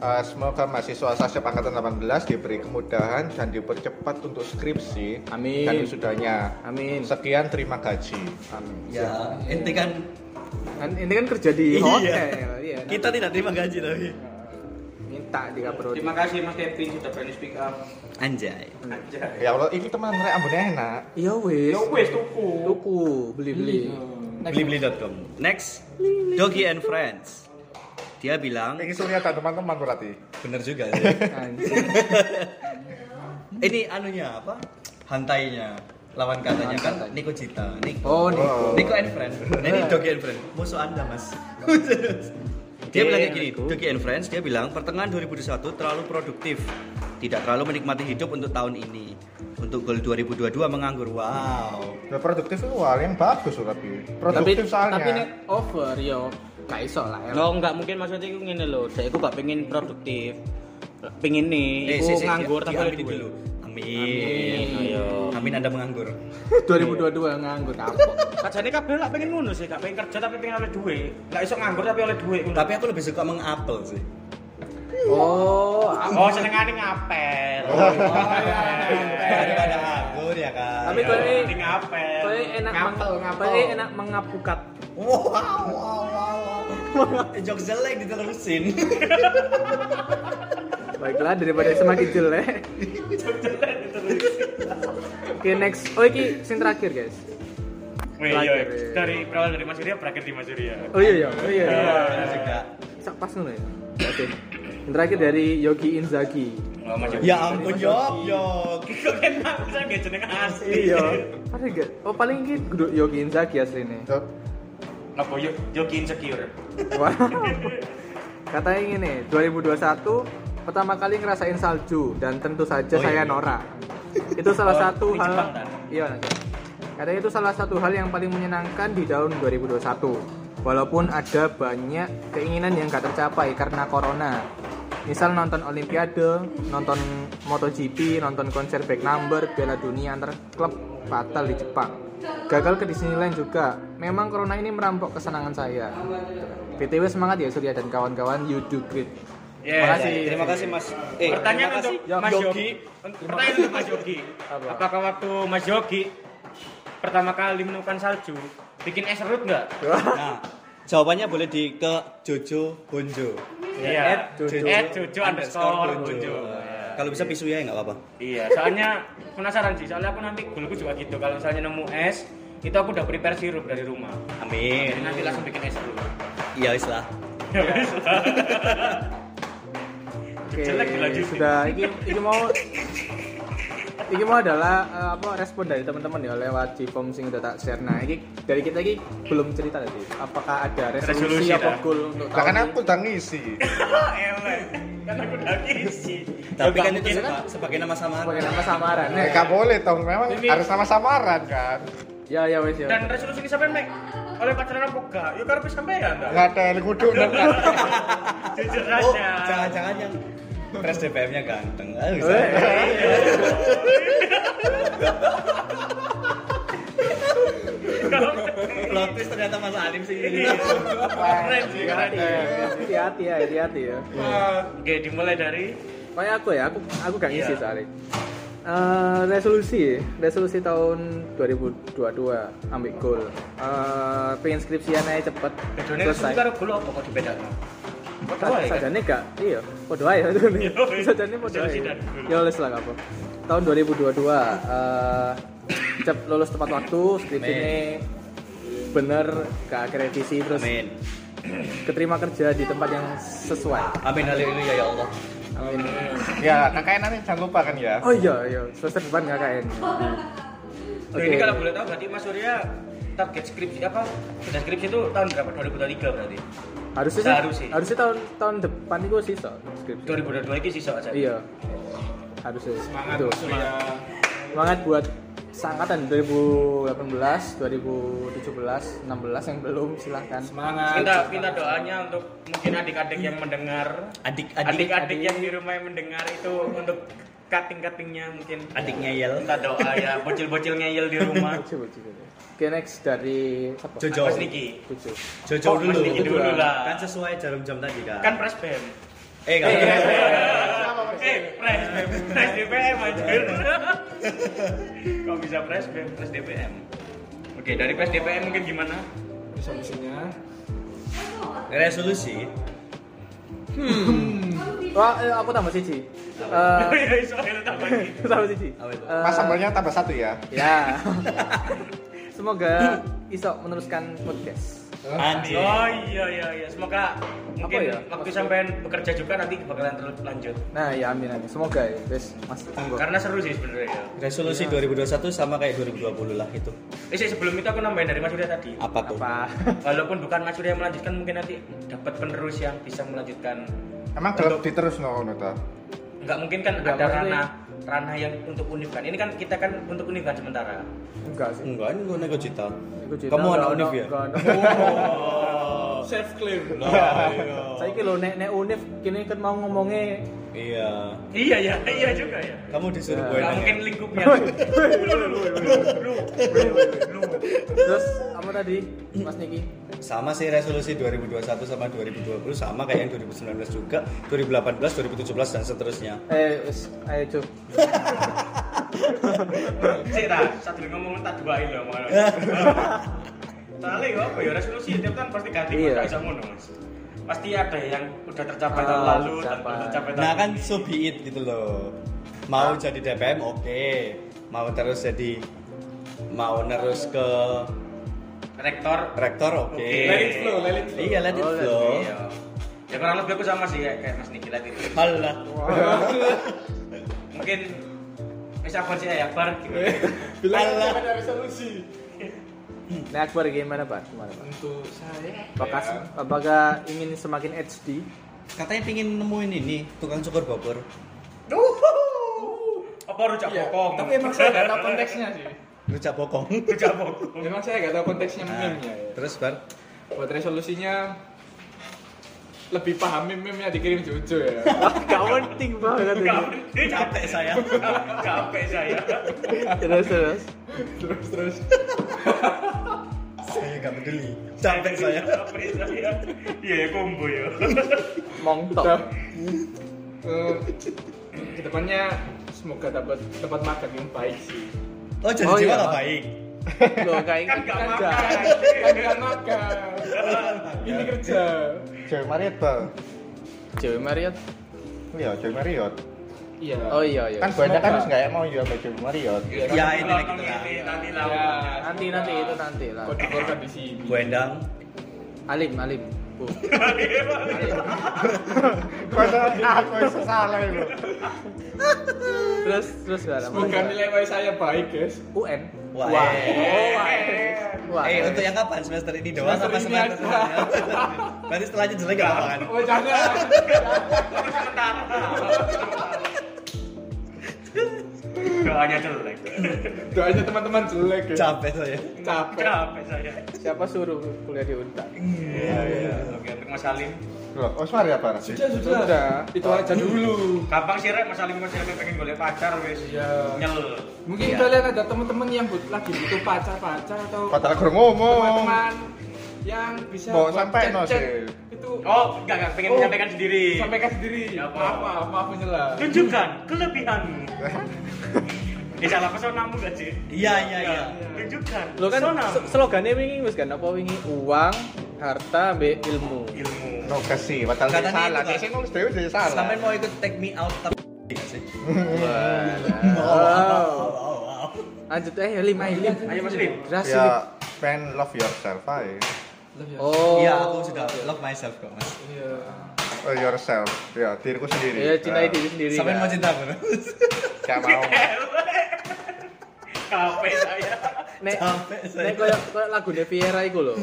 C: Eh, semoga mahasiswa Sasep Angkatan 18 diberi kemudahan dan dipercepat untuk skripsi
B: Amin.
C: dan wisudanya.
B: Amin.
C: Sekian terima gaji.
B: Amin.
D: Ya, ente kan
B: Kan ini kan kerja di
D: Iya.
B: hotel. Iya.
D: kita tidak terima gaji tapi.
B: Minta di kapro.
A: Terima kasih Mas Kevin sudah berani speak up.
D: Anjay.
F: Anjay.
C: Ya Allah, ini teman rek ambune enak.
B: Iya wis.
F: Yo wes tuku.
B: Tuku beli beli.
D: Blibli.com. Next, Doggy and Friends. Dia bilang,
C: Ini surya dan teman-teman berarti.
D: bener juga sih.
B: Anjir.
D: ini anunya apa hantainya lawan katanya kan Niko Cita Niko
B: Oh, nih.
C: Oh.
D: Niko and friend ini Dogi and friend musuh anda mas dia bilang kayak gini Dogi and friends dia bilang pertengahan 2021 terlalu produktif tidak terlalu menikmati hidup untuk tahun ini untuk goal 2022 menganggur wow
C: Nah, produktif itu hal yang bagus loh, tapi
B: Tapi
C: produktif soalnya.
B: tapi nek over yo. Gak iso lah. ya.
A: Lo enggak mungkin maksudnya iku ngene lho, saya iku gak pengen produktif. Pengen
F: Eh,
A: nih,
D: Eh, si,
A: iku
D: si,
A: nganggur
D: di-
A: tapi oleh
D: diamin
A: duit.
D: dulu amin
A: Ayo.
D: amin anda menganggur
B: 2022 nganggur kapok.
A: Kajane kabeh lak pengen ngono sih, gak pengen kerja tapi pengen oleh duit. Lah iso nganggur tapi oleh duit.
D: tapi aku lebih suka mengapel sih
B: Oh,
A: Oh, senengane ngapel.
F: Oh,
D: daripada nganggur ya kan
B: Tapi kau ini-
A: Penting ngapel.
B: Kau enak
A: ngapel,
B: meng-
A: ngapel.
B: kau enak mengapukat.
D: Wow, wow, wow, wow. Jok jelek diterusin.
B: Baiklah daripada semakin jelek. Oke next, oh iki sing terakhir guys.
F: Wih, yo. iya, Dari berawal dari Mas Surya berakhir di Mas Surya.
B: Oh iya iya, oh iya. iya.
D: Bener juga.
B: Sak pas ngono ya. Oke. Yang terakhir dari Yogi Inzaghi.
F: Oh, Mas Surya.
D: Ya ampun, yok, yok.
F: Kok enak bisa gak jeneng asli.
B: Iya. Ada gak? Oh paling iki kudu Yogi Inzaghi asline.
C: Tuh,
F: Apa Oh, yo joki insecure?
B: Wow. Katanya gini, 2021 pertama kali ngerasain salju dan tentu saja
D: Oh,
B: saya
D: iya.
B: norak. Itu salah
F: Oh,
B: satu
F: ini
B: hal
F: Jepang, kan?
B: Iya. Nanda. Katanya itu salah satu hal yang paling menyenangkan di tahun 2021. Walaupun ada banyak keinginan yang gak tercapai karena corona. Misal nonton Olimpiade, nonton MotoGP, nonton konser back number, Piala Dunia antar klub batal di Jepang. Gagal ke Disneyland juga. Memang
E: Iya.
B: corona ini merampok kesenangan saya. PTW semangat ya Surya dan kawan-kawan you do great.
A: Iya.
B: Makasih.
D: Terima kasih Mas. Eh,
A: Pertanyaan
D: terima kasih,
A: untuk Mas
D: Yogi.
A: Yogi. Pertanyaan untuk Mas Yogi. Apakah waktu Mas Yogi pertama kali menemukan salju bikin es serut nggak?
D: Nah, jawabannya boleh di ke Jojo Bonjo.
A: Iya. Eh, cucu underscore Iya. Jojo.
D: Kalau bisa pisu ya nggak apa-apa.
A: Iya, soalnya penasaran sih. Soalnya aku nanti goalku juga gitu. Kalau misalnya nemu es, itu aku udah prepare sirup dari rumah.
D: Amin.
A: Jadi nanti langsung bikin es serut.
D: Iya wis lah.
A: Ya, wis lah.
B: Oke,
A: Jelek dilanjutin.
B: sudah iki iki mau iki mau adalah eh, apa respon dari teman-teman ya lewat di form sing udah tak share. Nah, iki dari kita iki belum cerita tadi. Apakah ada resolusi,
A: Resolusi,
B: apa
A: dah.
B: goal untuk
C: Bahkan
B: tahun
C: kan aku tak ngisi.
A: Elek. Karena aku udah ngisi. Nggak
D: Tapi kan itu
A: mungkin,
D: seba- sebagai nama
B: ini?
D: samaran.
B: sebagai nama samaran?
C: Eh, nggak boleh dong, memang
A: Ini-
C: harus sama samaran kan.
B: Ya ya wes ya.
A: Dan resolusi ini sampean Mek. Oleh pacaran apa enggak? Yuk karena sampean dah.
C: Nggak ada yang kudu nggak ada.
A: Jujur
D: Oh,
A: aja.
D: jangan-jangan yang Pres DPM-nya ganteng. Ah, bisa.
A: Eh, eh.
D: Plot twist ternyata Mas Alim sih.
A: Keren sih, keren.
B: Hati-hati ya, hati-hati ya.
A: Oke, dimulai dari
B: Kayak aku ya, aku aku gak ngisi
A: Iya.
B: soalnya. Eh, resolusi, resolusi tahun 2022 ambil goal. Eh, pengen skripsian aja cepet
A: Bedone resolusi karo gula apa kok dibedakan?
B: Sa-
A: kan?
B: sajane gak iya podo ae sajane
A: Iya,
B: sajane podo ae
A: Sajane dan dulu.
B: ya wis lah gak apa tahun 2022 eh cep lulus tepat waktu skripsinya bener ke akhir revisi terus
D: Amin.
B: keterima kerja di tempat yang sesuai
D: Amin haleluya ya Allah.
B: Amin.
C: Ya, KKN nanti jangan lupa kan ya.
B: oh iya iya semester depan KKN
A: Oke. Ini kalau boleh tahu berarti Mas Surya target skripsi apa? Target skripsi itu tahun berapa? 2023 berarti.
B: harusnya sih
A: Seharusnya.
B: harusnya tahun tahun depan itu sisa skripsi
A: 2022 ini sisa aja.
B: iya harusnya
E: semangat
B: Itu.
E: Mas Surya
B: semangat buat seangkatan 2018, 2017, 16 yang belum silahkan.
E: semangat
A: Minta minta doanya untuk mungkin adik-adik yang mendengar,
D: Adik-adik
A: adik-adik yang di rumah yang mendengar itu untuk cutting-cuttingnya mungkin
D: adiknya Yel.
A: minta doa ya bocil-bocil ngeyel di rumah.
B: Coba coba. coba. Oke next dari siapa?
D: Jojo.
A: Mas Niki.
B: Jojo.
D: Jojo
A: Oh,
D: dulu.
A: Mas Niki dulu lah.
D: Kan sesuai jarum jam tadi kan.
A: Kan Iya. press band.
D: eh kan.
A: Eh, press band, press DPM anjir. Kok bisa press band, press DPM? Oke, dari press DPM mungkin gimana?
E: resolusinya
D: Resolusi.
B: Wah, eh, aku tambah siji. Eh,
A: Oh iya, soalnya tambah lagi.
B: aku tambah siji.
D: Apa itu?
B: Eh,
C: Mas sambalnya tambah satu ya.
B: Ya. Semoga iso meneruskan podcast.
D: Andi.
A: Oh iya iya iya, semoga mungkin
B: ya?
A: waktu sampean bekerja juga nanti bakalan terus lanjut.
B: Nah, ya amin amin. Semoga ya, guys. Mas monggo.
A: Karena seru sih sebenarnya ya.
D: Resolusi 2021 sama kayak 2020 lah itu.
A: Eh sih, sebelum itu aku nambahin dari Mas Surya tadi.
D: Apa tuh?
B: Apa?
A: Walaupun bukan Mas Surya yang melanjutkan, mungkin nanti dapat penerus yang bisa melanjutkan.
C: Emang gelap diterus no no toh?
A: Nggak mungkin kan
B: Nggak,
A: ada
B: maksudnya-
A: ranah ranah yang untuk univ kan. Ini kan kita kan untuk univ kan sementara.
B: Enggak sih.
D: Enggak, ini gue nego cita.
B: Iku cerita,
D: Kamu anak
B: enggak,
D: univ ya?
B: enggak, enggak.
E: self claim
B: Saya kira nek nek univ kini kan mau ngomongnya
D: Iya.
A: Iya ya, iya juga ya.
D: Kamu disuruh
B: Ya.
D: gue
A: Nggak mungkin
D: nanya.
A: lingkupnya.
B: terus apa tadi Mas Niki?
D: Sama sih resolusi 2021 sama 2020 sama kayak yang 2019 juga, 2018, 2017 dan seterusnya.
B: Eh, wis, ayo Cuk.
A: Cek satu ngomong tak dua ini ngomong. Tali apa ya resolusi tiap tahun pasti ganti
B: Iya.
A: kok bisa ngono Mas. Pasti ada yang udah tercapai tahun
B: Ah,
A: lalu,
B: tercapai.
A: tanpa tercapai tahun
D: Nah kan so be it gitu loh. Mau jadi DPM oke, mau terus jadi mau terus ke
A: rektor.
D: rektor oke.
A: Oke. Let it flow, let it
D: flow. Iya, let it
B: Oh, let
D: flow.
A: Iya. Ya kurang lebih aku sama sih kayak, kayak Mas Niki lagi.
D: Alah.
A: Mungkin bisa apa sih ya, Bar?
D: Alah.
B: Nah, Akbar gimana Pak? Gimana Pak?
E: untuk saya
B: Apakah, apakah ingin semakin HD?
D: Katanya pingin nemuin ini tukang cukur Bogor.
A: Apa rujak
E: Iya,
A: bokong?
E: tapi emang saya nggak tahu konteksnya sih
D: Rujak bokong.
A: rujak bokong.
E: memang saya nggak tahu konteksnya
D: Nah,
E: meme-nya ya.
D: terus bar
E: buat resolusinya lebih paham meme-nya dikirim Jojo ya
B: Gak penting banget ini.
A: Ini capek,
D: capek saya.
A: capek saya.
B: Terus terus.
E: terus terus
D: saya nggak peduli capek saya
A: Capek saya. Iya ya combo ya.
B: mongtok
E: Eh, kedepannya semoga dapat tempat makan yang baik sih
D: oh jadi
B: Oh,
D: jiwa
B: iya,
D: nggak
B: Pak.
D: baik
B: lo kayak
A: Kan nggak
E: Kan
A: makan.
E: nggak- kan nggak makan ini kerja
C: Cewek Marriott bang
B: cewek Marriott
C: iya cewek Marriott
E: iya
B: oh iya iya
C: kan banyak kan
E: Semoga.
C: harus nggak mau juga sama cewek Marriott
A: Iya.
D: ya ini lah gitu lah
A: Nanti lah.
E: Ya,
B: nanti nanti itu nanti lah
E: kode korban di
A: iya.
E: sini
D: Bu Endang
B: alim alim bu
C: masa aku yang salah itu
B: terus terus gak lama
E: semoga nilai WA saya baik guys
B: UN Oh,
D: wah, eh.
B: wah
D: Eh, untuk yang kapan? Semester ini doang apa
E: Semester ini
D: semester
E: aja.
D: selanjutnya? Berarti setelahnya jelek gak apa kan?
A: iya.
E: oh jangan
A: Doanya jelek.
E: doanya teman-teman jelek ya
D: Capek saya.
E: capek
A: Capek saya.
B: siapa suruh kuliah di Unta
A: Iya iya. Oke untuk Mas Salim.
C: loh Osmar ya parah
E: sudah sudah itu aja dulu
A: Gampang sih rek Mas Salim kok siapa pengen golek pacar wis.
E: Iya.
A: Nyel.
E: mungkin kalian ada teman-teman yang but, lagi butuh pacar-pacar atau
C: padahal kurang ngomong
E: teman-teman yang bisa
C: Bawa
E: buat
C: sampai no
E: chat-chat
C: sih.
E: itu
A: Oh, enggak enggak pengen
E: Oh.
A: menyampaikan sendiri.
E: sampaikan sendiri
A: Ya,
E: maaf
A: apa?
E: maaf maaf menyela
A: Tunjukkan kelebihanmu. Ini salah pesonamu gak sih?
D: Iya, iya, iya.
A: Tunjukkan.
B: lo kan
A: pesona.
B: s- slogannya wingi wis kan apa wingi uang harta be ilmu
A: ilmu.
C: no kasih padahal
D: Katanya
C: salah
D: itu, Pak.
C: dia sih nulis dewe
A: iya.
C: jadi salah
D: Sampai mau ikut take me out tapi Iya sih. Oh,
B: wow Oh. lanjut eh alim
D: Iya.
B: alim
A: Ayo Iya, Mas Lim.
B: Drastis.
C: ya pengen love yourself aja
B: oh
D: Iya, aku sudah love myself kok, Mas.
E: Iya.
C: Oh, yourself ya diriku sendiri
B: ya cintai
C: Eh,
B: diri sendiri
D: Sampai
B: kan?
D: mau cinta aku. Mas.
C: gak mau
A: Capek saya.
B: nek
D: Capek saya. Hmm.
B: nek koyo koyo lagu Viera iku lho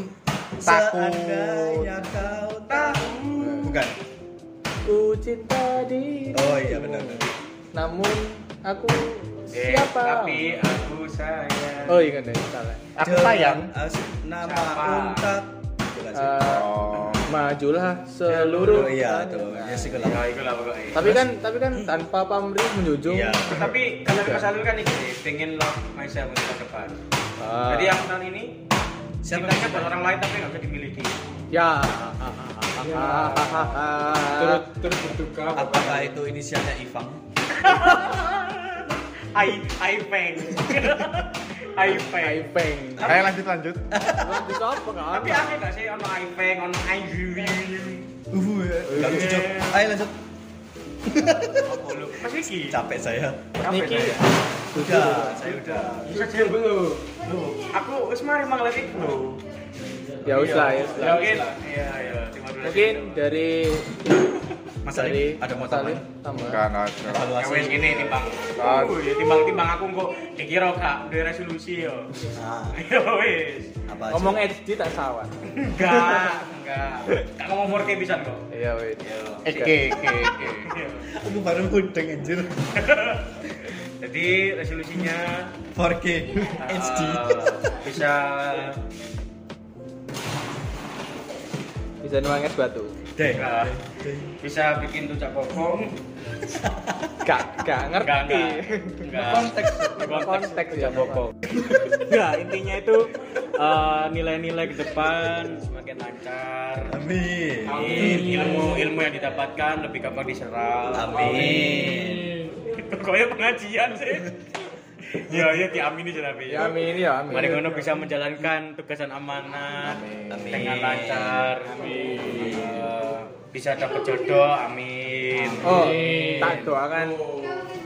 C: Takut.
D: Seandainya kau tahu. Bukan.
B: ku cinta diri
D: Oh iya benar. benar.
B: namun aku
A: Eh,
B: siapa
A: Tapi aku sayang.
B: oh iya kan ya salah
C: aku sayang
D: Dengan as- Nama
A: Siapa?
D: untak. Bukan sih.
B: Eh,
C: oh
B: majulah seluruh
D: Oh, iya tuh.
B: tanah.
D: Ya sih kalau.
A: Ya itu lah pokoknya.
B: tapi kan tapi kan tanpa pamrih menjunjung
D: Iya.
A: Tapi kalau Mas Salim kan ini sih, pengen love myself untuk ke depan.
B: Ah.
A: Jadi yang tahun ini
D: Siapa
A: cintanya
D: yang
A: buat
D: suka?
A: orang lain tapi nggak bisa dimiliki.
B: ya
E: terus terus berduka
D: Apakah itu inisialnya Ivang?
A: I I peng. I peng.
B: Ipeng
C: ayo lanjut lanjut
B: itu apa kan
A: Tapi aku gak sih ono I peng, ono I
D: Uh, gak lucu Jok. Ayo lanjut.
A: Mas Iki.
D: Capek saya.
B: Niki
D: Udah, saya udah.
E: jujur belum
A: Aku wis mari mang lagi lho.
B: ya wis lah ya wis lah.
A: Mungkin iya iya terima kasih.
B: mungkin dari
D: Mas
B: dari
D: Ali, ada mau
B: Mas Ali
D: tambahin?
B: tambahan
C: gak ada
A: Ya
D: Evaluasi.
A: wis gini timbang.
C: Ah.
A: Uh, ya timbang-timbang aku kok dikira gak duwe resolusi yo.
D: Nah,
A: Ya wis.
D: apa aja?
B: ngomong HD tak sawah
A: Enggak, enggak. Kak ngomong 4K bisa kok.
B: iya wait
C: Eke, eke, eke.
D: aku baru mudeng anjir.
A: Jadi resolusinya
D: 4K HD.
A: eh, bisa
B: bisa nuanges batu
D: Deh.
A: eh, bisa bikin tujak kokong.
B: gak gak
A: Enggak,
B: ngerti
A: enggak. Enggak.
B: konteks konteks ya pokok
G: Enggak, intinya itu eh, nilai-nilai ke depan semakin lancar.
D: Amin.
A: Amin. Ilmu ilmu yang didapatkan lebih gampang diserap.
D: Amin.
A: Koyo pengajian sih. ya ya diamini sih tapi.
B: ya amin ya amin
A: Mari ngono bisa menjalankan tugas dan amanat
D: Amin.
A: dengan lancar. Eh, bisa dapat jodoh, amin.
B: oh tak doakan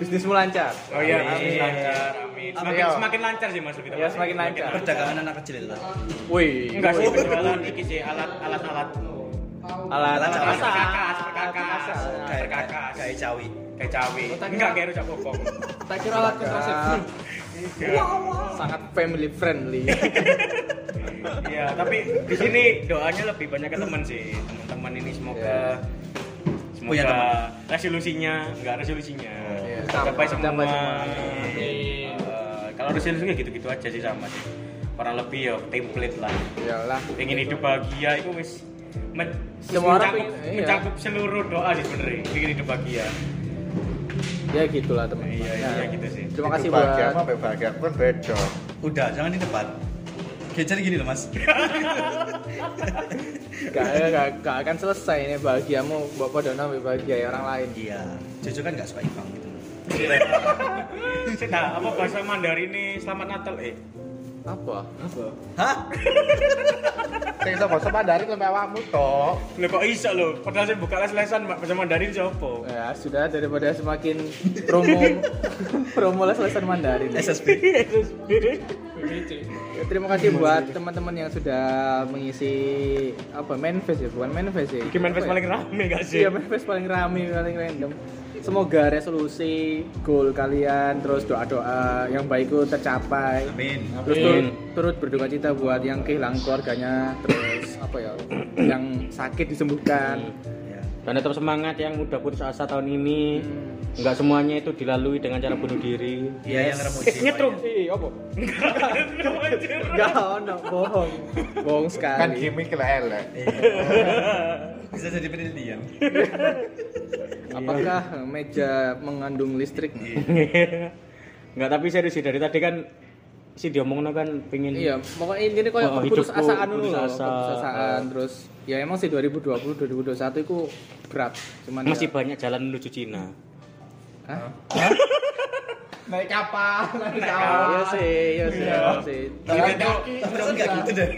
B: bisnismu lancar
A: Oh iya, amin lancar, amin. Semakin,
B: Amin.
A: semakin lancar sih Mas lebih
B: ya semakin lancar
D: Perdagangan anak kecil itu.
B: wih
A: Enggak sih penjualan iki sih alat-alat alat
B: alat
D: Alat
B: perkasa.
A: perkakas, perkakas,
B: perkasa.
D: Kayak
A: perkakas,
D: kayak cawi.
A: kayak cawi. Enggak kayak rujak bokong.
E: tak kira alat kontrasepsi
B: sangat family friendly
A: Iya, tapi di sini doanya lebih banyak ke teman sih. Teman-teman ini semoga semoga
D: Punya teman.
A: resolusinya, enggak resolusinya.
B: Iya. Tercapai
A: Tercapai semua.
B: semua.
A: Amin. Eh, Kalau resolusinya gitu-gitu aja sih sama sih. Kurang lebih ya template lah.
B: iyalah
A: pengen hidup bahagia itu wis men-
B: Semua orang
A: mencakup,
B: pengen- iya.
A: mencakup seluruh doa sih sebenarnya pengen hidup bahagia
B: ya gitulah teman
A: iya iya gitu sih
B: terima kasih
C: Hidup bahagia
B: buat
C: sama bahagia aku kan beda.
D: Udah, jangan di depan. Gecer gini loh mas.
B: gak, gak, gak akan selesai ini bahagiamu mbok podo nang mbek bahagia ya orang lain
D: Iya. Jojo kan nggak suka Ipang gitu. loh.
F: Nah, apa bahasa Mandarin ini selamat Natal eh?
B: apa
D: Hah?
C: Sing sama sama dari lemah awakmu tok.
F: Lho kok iso lho, padahal saya buka les-lesan bahasa Mandarin siapa?
B: ya sudah daripada semakin promo promo les-lesan Mandarin
D: SSB.
A: Iya,
B: Ya, terima kasih buat teman-teman yang sudah mengisi apa manifest ya bukan manifest ya
A: Iki
B: Apa
A: manifest
B: ya?
A: paling rame gak sih?
B: Iya, manifest paling rame, paling random. Semoga resolusi goal kalian terus doa-doa yang baik itu tercapai.
D: Amin.
B: Terus turut, turut berduka cita buat yang kehilangan keluarganya, terus apa ya, yang sakit disembuhkan.
D: Ya.
A: Dan tetap semangat yang udah putus asa tahun ini. Enggak semuanya itu dilalui dengan cara bunuh diri.
D: Iya yang remuji.
A: Eh, nyetrum.
B: Ih, apa?
F: Nyetrum aja.
B: Enggak ono, bohong. Bohong
C: Kan
B: sekali.
C: gimmick lah elek.
D: Bisa jadi penelitian.
B: Apakah meja mengandung listrik?
A: Iya. Enggak, tapi serius sih dari tadi kan si diomongno kan pengen
B: Iya, pokoknya ini koyo
A: Oh,
B: keputus
A: hidupku,
B: asaan dulu loh,
A: keputusasaan.
B: keputus asaan terus ya emang sih 2020 2021 itu berat, cuman
A: masih
B: ya,
A: banyak jalan menuju Cina.
B: Hah?
E: naik kapal naik
B: Iya sih, iya sih, iya sih.
D: Tapi kan nggak gitu deh.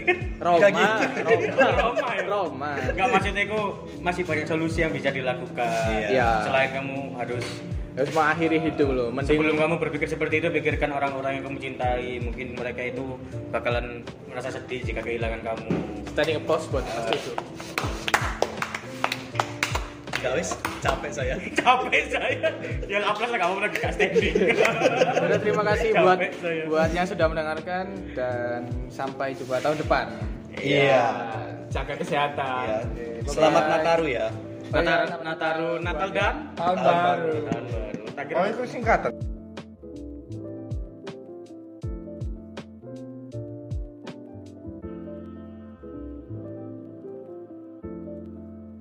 B: Roma,
D: Nggak gitu.
B: Roma, Roma.
F: Enggak maksudnya itu masih banyak solusi yang bisa dilakukan.
B: Iya.
F: Selain kamu harus
B: Harus mengakhiri Ya hidup loh, mending
F: sebelum kamu berpikir seperti itu, pikirkan orang-orang yang kamu cintai. Mungkin mereka itu bakalan merasa sedih jika kehilangan kamu.
B: standing applause buat Mas Jojo.
D: Nggak wis capek saya.
F: Capek saya. Ya aplas lah kamu lagi kasih
B: Udah, terima kasih
F: Capek
B: buat
F: saya.
B: buat yang sudah mendengarkan dan sampai jumpa tahun depan.
D: Iya.
E: jaga kesehatan
D: Iya. Selamat Nataru ya.
B: Natal Iya.
F: Nataru, Natal dan
E: tahun baru
F: Tahun baru. Tak kira-
C: Oh itu singkatan.